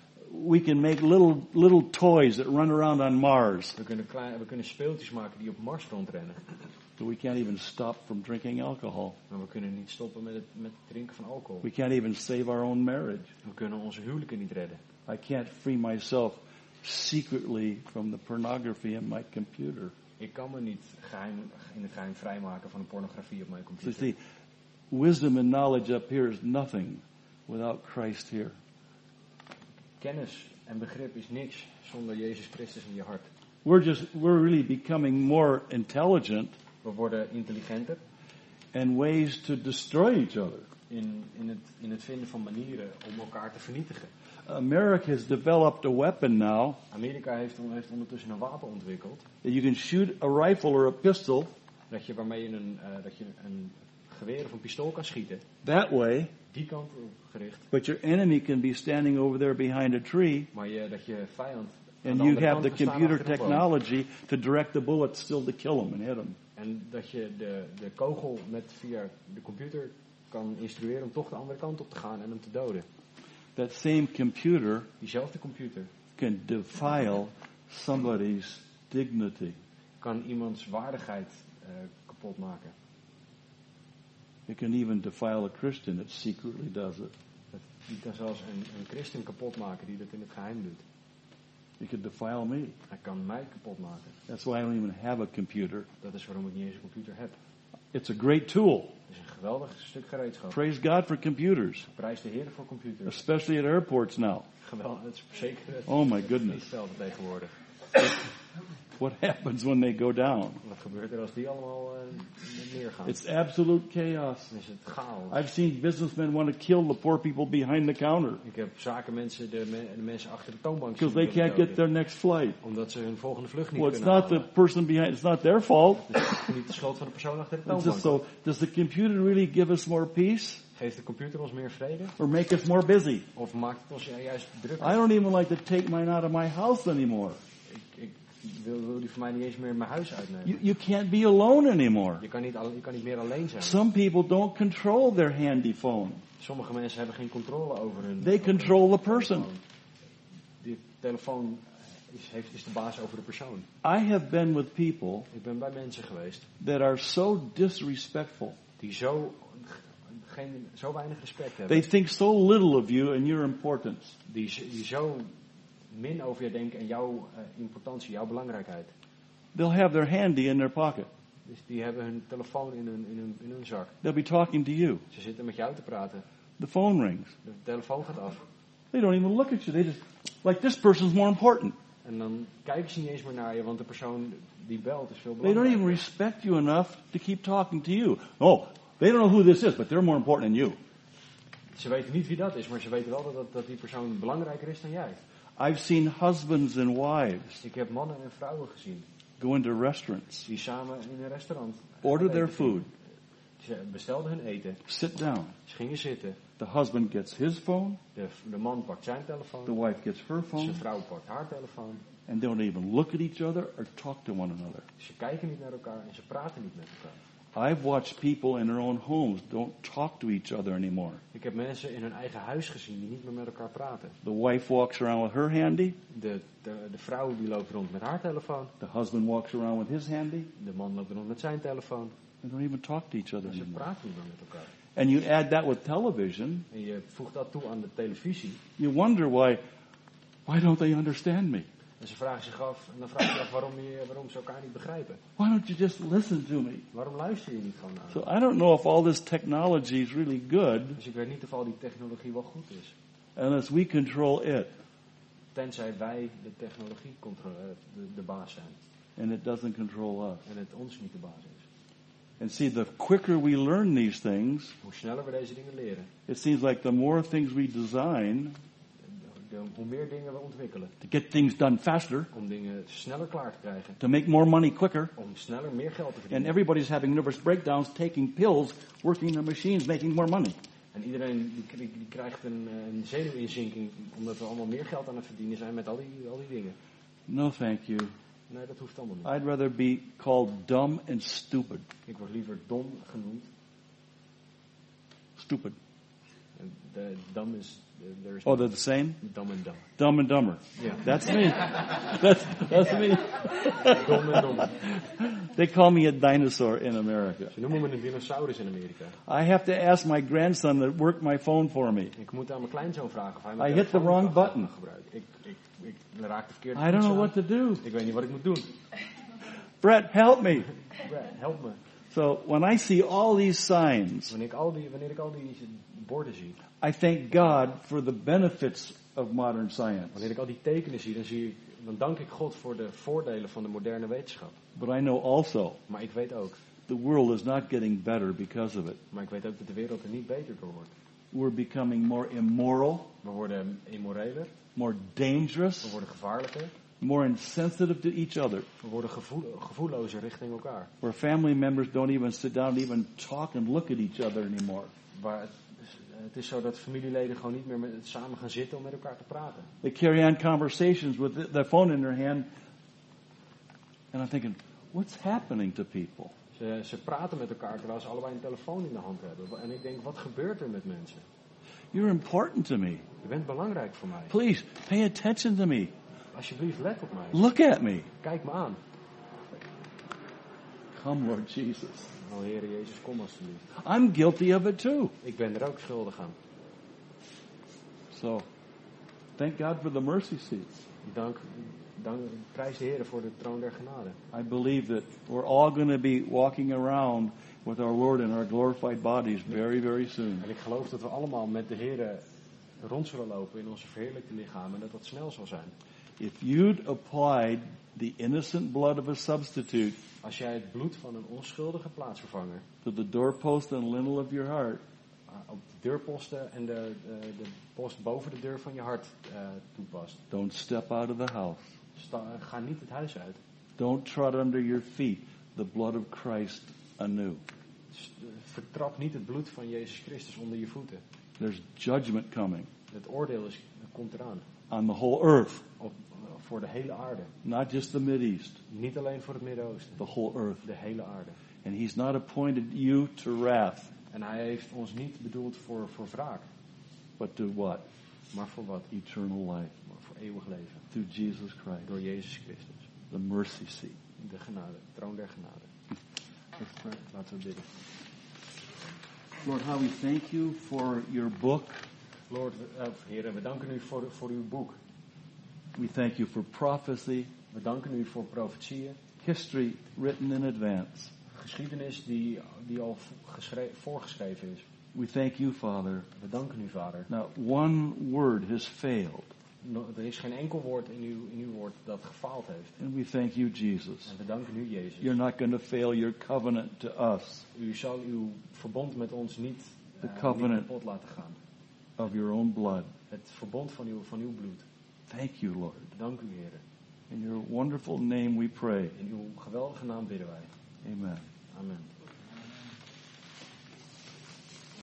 S5: We can make little little toys that run around on Mars.
S6: We kunnen, klein, we kunnen speeltjes maken die op Mars rondrennen.
S5: The So we can't even stop from drinking alcohol.
S6: Maar we kunnen niet stoppen met het, met het drinken van alcohol.
S5: We can't even save our own marriage.
S6: We kunnen onze huwelijken niet redden.
S5: I can't free myself secretly from the pornography in my computer.
S6: Ik kan me niet geheim, in het geheim vrijmaken van de pornografie op mijn
S5: So you
S6: computer.
S5: see, wisdom and knowledge up here is nothing without Christ here.
S6: Kennis en begrip is niks zonder Jezus Christus in je hart.
S5: We're just, we're really becoming more intelligent
S6: We worden intelligenter
S5: and ways to destroy each other.
S6: in, in, het, in het vinden van manieren om elkaar te vernietigen.
S5: America has developed a weapon now
S6: Amerika heeft, on- heeft ondertussen een wapen ontwikkeld
S5: that you can shoot a rifle or a pistol
S6: dat je waarmee je een, eh, dat je een geweer of een pistool kan schieten.
S5: that way,
S6: Die kant op gericht.
S5: but your enemy can be standing over there behind a tree
S6: Maar je, dat je vijand. aan
S5: and
S6: de
S5: you
S6: andere
S5: have
S6: kant
S5: the
S6: kan staan
S5: computer
S6: achter een boom.
S5: technology to direct the bullet still to kill him and hit him.
S6: En dat je de, de kogel met via de computer kan instrueren om toch de andere kant op te gaan en hem te doden.
S5: That same computer
S6: Diezelfde computer
S5: can defile somebody's dignity.
S6: kan iemands waardigheid eh, kapot maken.
S5: It can even defile a Christian that secretly does it.
S6: Dat, die kan zelfs een, een christen kapot maken die dat in het geheim doet.
S5: It could defile me.
S6: Hij kan mij kapot maken.
S5: That's why I don't even have a computer.
S6: Dat is waarom ik niet eens een computer heb.
S5: It's a great tool.
S6: Het is een geweldig stuk gereedschap.
S5: Praise God for computers,
S6: Prijs de Heer voor computers.
S5: especially at airports now.
S6: Geweldig, het is zeker het
S5: Oh my goodness.
S6: vliegveld tegenwoordig.
S5: What (laughs) happens when they go down?
S6: Wat gebeurt er als die allemaal eh, neergaan?
S5: It's absolute chaos.
S6: Dan is het chaos.
S5: I've seen businessmen want to kill the poor people behind the counter
S6: Ik heb zakenmensen, de, me- de mensen achter de toonbank zien
S5: because they can't
S6: doden.
S5: get their next flight.
S6: Omdat ze hun volgende vlucht niet
S5: Well, it's
S6: kunnen
S5: not the
S6: halen.
S5: person behind, it's not their fault.
S6: Het is niet de schuld van de persoon achter de
S5: It's
S6: toonbank.
S5: just so, does the computer really give us more peace
S6: Geeft de computer ons meer vrede?
S5: or make us more busy?
S6: Of maakt het ons ju- juist druk?
S5: I don't even like to take mine out of my house anymore.
S6: Ik, ik wil, wil die voor mij niet eens meer in mijn huis uitnemen.
S5: You, you can't be alone anymore.
S6: Je kan, niet, al- je kan niet meer alleen zijn.
S5: Some people don't control their handy phone.
S6: Sommige mensen hebben geen controle over hun... Oh.
S5: They control the person.
S6: Die telefoon is, heeft, is de baas over de persoon.
S5: I have been with people
S6: Ik ben bij mensen geweest
S5: that are so disrespectful.
S6: die zo, geen, zo weinig respect hebben.
S5: They think so little of you and your importance.
S6: die, z- die zo min over je denken en jouw eh, importantie, jouw belangrijkheid.
S5: They'll have their handy in their pocket.
S6: Dus die hebben hun telefoon in hun, in hun, in hun zak.
S5: They'll be talking to you.
S6: Ze zitten met jou te praten.
S5: The phone rings.
S6: De telefoon gaat af.
S5: They don't even look at you. They just, like, this person's more important.
S6: En dan kijken ze niet eens meer naar je, want de persoon die belt is veel
S5: They don't even
S6: belangrijker.
S5: respect you enough to keep talking to you. Oh, they don't know who this is, but they're more important than you.
S6: Ze weten niet wie dat is, maar ze weten wel dat- dat, dat die persoon belangrijker is dan jij. Dus
S5: I've seen husbands and wives
S6: Ik heb mannen en vrouwen gezien
S5: go into restaurants,
S6: die samen in een restaurant.
S5: order
S6: eten
S5: their
S6: gingen.
S5: food,
S6: Ze bestelden hun eten.
S5: sit down.
S6: Ze gingen zitten.
S5: The husband gets his phone,
S6: De, de man pakt zijn
S5: the
S6: telefoon.
S5: wife gets her
S6: Zijn
S5: phone,
S6: vrouw pakt haar telefoon.
S5: and they don't even look at each other or talk to one another.
S6: Ze kijken niet naar elkaar en ze praten niet met elkaar.
S5: I've watched people in their own homes don't talk to each other anymore.
S6: Ik heb mensen in hun eigen huis gezien die niet meer met elkaar praten.
S5: The wife walks around with her handy,
S6: De, de, de vrouw die loopt rond met haar telefoon.
S5: the husband walks around with his handy,
S6: De man loopt rond met zijn telefoon.
S5: and don't even talk to each other
S6: En ze
S5: anymore.
S6: praten niet meer met elkaar.
S5: And you add that with television,
S6: En je voegt dat toe aan de televisie.
S5: you wonder why, why don't they understand me?
S6: En ze vragen zich af, en dan vraag je je af waarom, je, waarom ze elkaar niet begrijpen.
S5: Why don't you just listen to me?
S6: Waarom luister je niet gewoon naar
S5: So
S6: elkaar?
S5: I don't know if all this technology is really good
S6: Dus ik weet niet of al die technologie wel goed is.
S5: unless we control it.
S6: Tenzij wij de technologie contro- eh, de, de baas zijn.
S5: and it doesn't control us.
S6: En het ons niet de baas is.
S5: And see, the quicker we learn these things,
S6: Hoe sneller we deze dingen leren,
S5: it seems like the more things we design
S6: de- de- hoe meer dingen we ontwikkelen.
S5: to get things done faster,
S6: Om dingen sneller klaar te krijgen.
S5: to make more money quicker,
S6: om sneller meer geld te verdienen.
S5: and everybody's having nervous breakdowns, taking pills, working their machines, making more money.
S6: En iedereen die, kri- die krijgt een, eh, een zenuwinzinking omdat we allemaal meer geld aan het verdienen zijn met al die, al die dingen.
S5: No, thank you.
S6: Nee, dat hoeft allemaal niet.
S5: I'd rather be called dumb and stupid.
S6: Ik word liever dom genoemd
S5: Stupid.
S6: en de, dom is There's
S5: Oh, they're the same?
S6: Dumb and Dumb.
S5: Dumb and Dumber.
S6: Yeah.
S5: That's me. That's, that's me.
S6: Dom en Dom.
S5: They call me a dinosaur in America.
S6: Ze noemen me een dinosaurus in Amerika.
S5: I have to ask my grandson to work my phone for me.
S6: Ik moet aan mijn kleinzoon vragen of hij mijn
S5: I hit the
S6: telefoon
S5: wrong
S6: mag
S5: button.
S6: gebruiken. Ik, ik, ik raak de verkeerde
S5: I don't know
S6: toets
S5: what
S6: aan.
S5: to do.
S6: Ik weet niet wat ik moet doen.
S5: Brett, help me.
S6: Brad, help me.
S5: So when I see all these signs,
S6: Wanneer ik al die, wanneer ik al die borden zie,
S5: I thank God for the benefits of modern science.
S6: wanneer ik al die tekenen zie, dan, zie ik, dan dank ik God voor de voordelen van de moderne wetenschap.
S5: But I know also
S6: Maar ik weet ook,
S5: the world is not getting better because of it.
S6: maar ik weet ook dat de wereld er niet beter door wordt.
S5: We're becoming more immoral,
S6: We worden immoreler,
S5: more
S6: we
S5: dangerous,
S6: worden gevaarlijker,
S5: more insensitive to each other.
S6: we worden gevoel, gevoellozer richting elkaar.
S5: Where family members don't even sit down and even talk and look at each other anymore.
S6: Waar het, het is zo dat familieleden gewoon niet meer met, samen gaan zitten om met elkaar te praten.
S5: They carry on conversations with th- their phone in their hand. And I'm thinking, what's happening to people?
S6: Ze, ze praten met elkaar terwijl ze allebei een telefoon in de hand hebben. En ik denk, wat gebeurt er met mensen?
S5: You're important to me.
S6: Je bent belangrijk voor mij.
S5: Please pay attention to me.
S6: Alsjeblieft, let op mij.
S5: Look at me.
S6: Kijk me aan.
S5: Come, Lord Jesus.
S6: O Heer Oh, Jezus, kom alsjeblieft.
S5: I'm guilty of it too.
S6: Ik ben er ook schuldig aan.
S5: So, thank God for the mercy seats.
S6: Dank, dank, prijs de Heer voor de troon der genade.
S5: I believe that we're all going to be walking around with our Lord in our glorified bodies very, very soon.
S6: En ik geloof dat we allemaal met de Heer rond zullen lopen in onze verheerlijkte lichamen. En dat dat snel zal zijn.
S5: If you'd applied the innocent blood of a substitute
S6: Als jij het bloed van een onschuldige plaatsvervanger
S5: to the doorpost and lintel of your heart,
S6: eh, op de deurposten en de, de, de post boven de deur van je hart eh, toepast.
S5: don't step out of the house.
S6: Sta, ga niet het huis uit.
S5: Don't trot under your feet the blood of Christ anew.
S6: S- eh, Vertrap niet het bloed van Jezus Christus onder je voeten.
S5: There's judgment coming
S6: Het oordeel is, komt eraan.
S5: on the whole earth,
S6: Op, eh, voor de hele aarde.
S5: not just the Mideast,
S6: Niet alleen voor het Midden-Oosten.
S5: the whole earth.
S6: De hele aarde.
S5: And He's not appointed you to wrath,
S6: En hij heeft ons niet bedoeld voor, voor wraak.
S5: but to what?
S6: Maar voor wat?
S5: Eternal life
S6: Maar voor eeuwig leven.
S5: through Jesus Christ,
S6: Door Jezus Christus.
S5: the mercy seat.
S6: De genade. Troon der genade. (laughs) Laten we bidden.
S5: Lord, how we thank you for your book.
S6: Lord, eh, heren, we danken u voor, voor uw boek.
S5: We thank you for prophecy,
S6: We danken u voor profetieën.
S5: history written in advance.
S6: Geschiedenis die, die al vo- geschre- voorgeschreven is.
S5: We thank you, Father.
S6: We danken u, Vader.
S5: Not one word has failed.
S6: No- Er is geen enkel woord in uw, in uw woord dat gefaald heeft.
S5: And we thank you, Jesus.
S6: En we danken u, Jezus.
S5: You're not going to fail your covenant to us
S6: U zal uw verbond met ons niet,
S5: The
S6: eh,
S5: covenant.
S6: niet kapot laten gaan.
S5: of your own blood.
S6: Het verbond van uw, van uw bloed.
S5: Thank you, Lord.
S6: Dank u, Heer.
S5: In your wonderful name we pray.
S6: In uw geweldige naam bidden wij.
S5: Amen.
S6: Amen.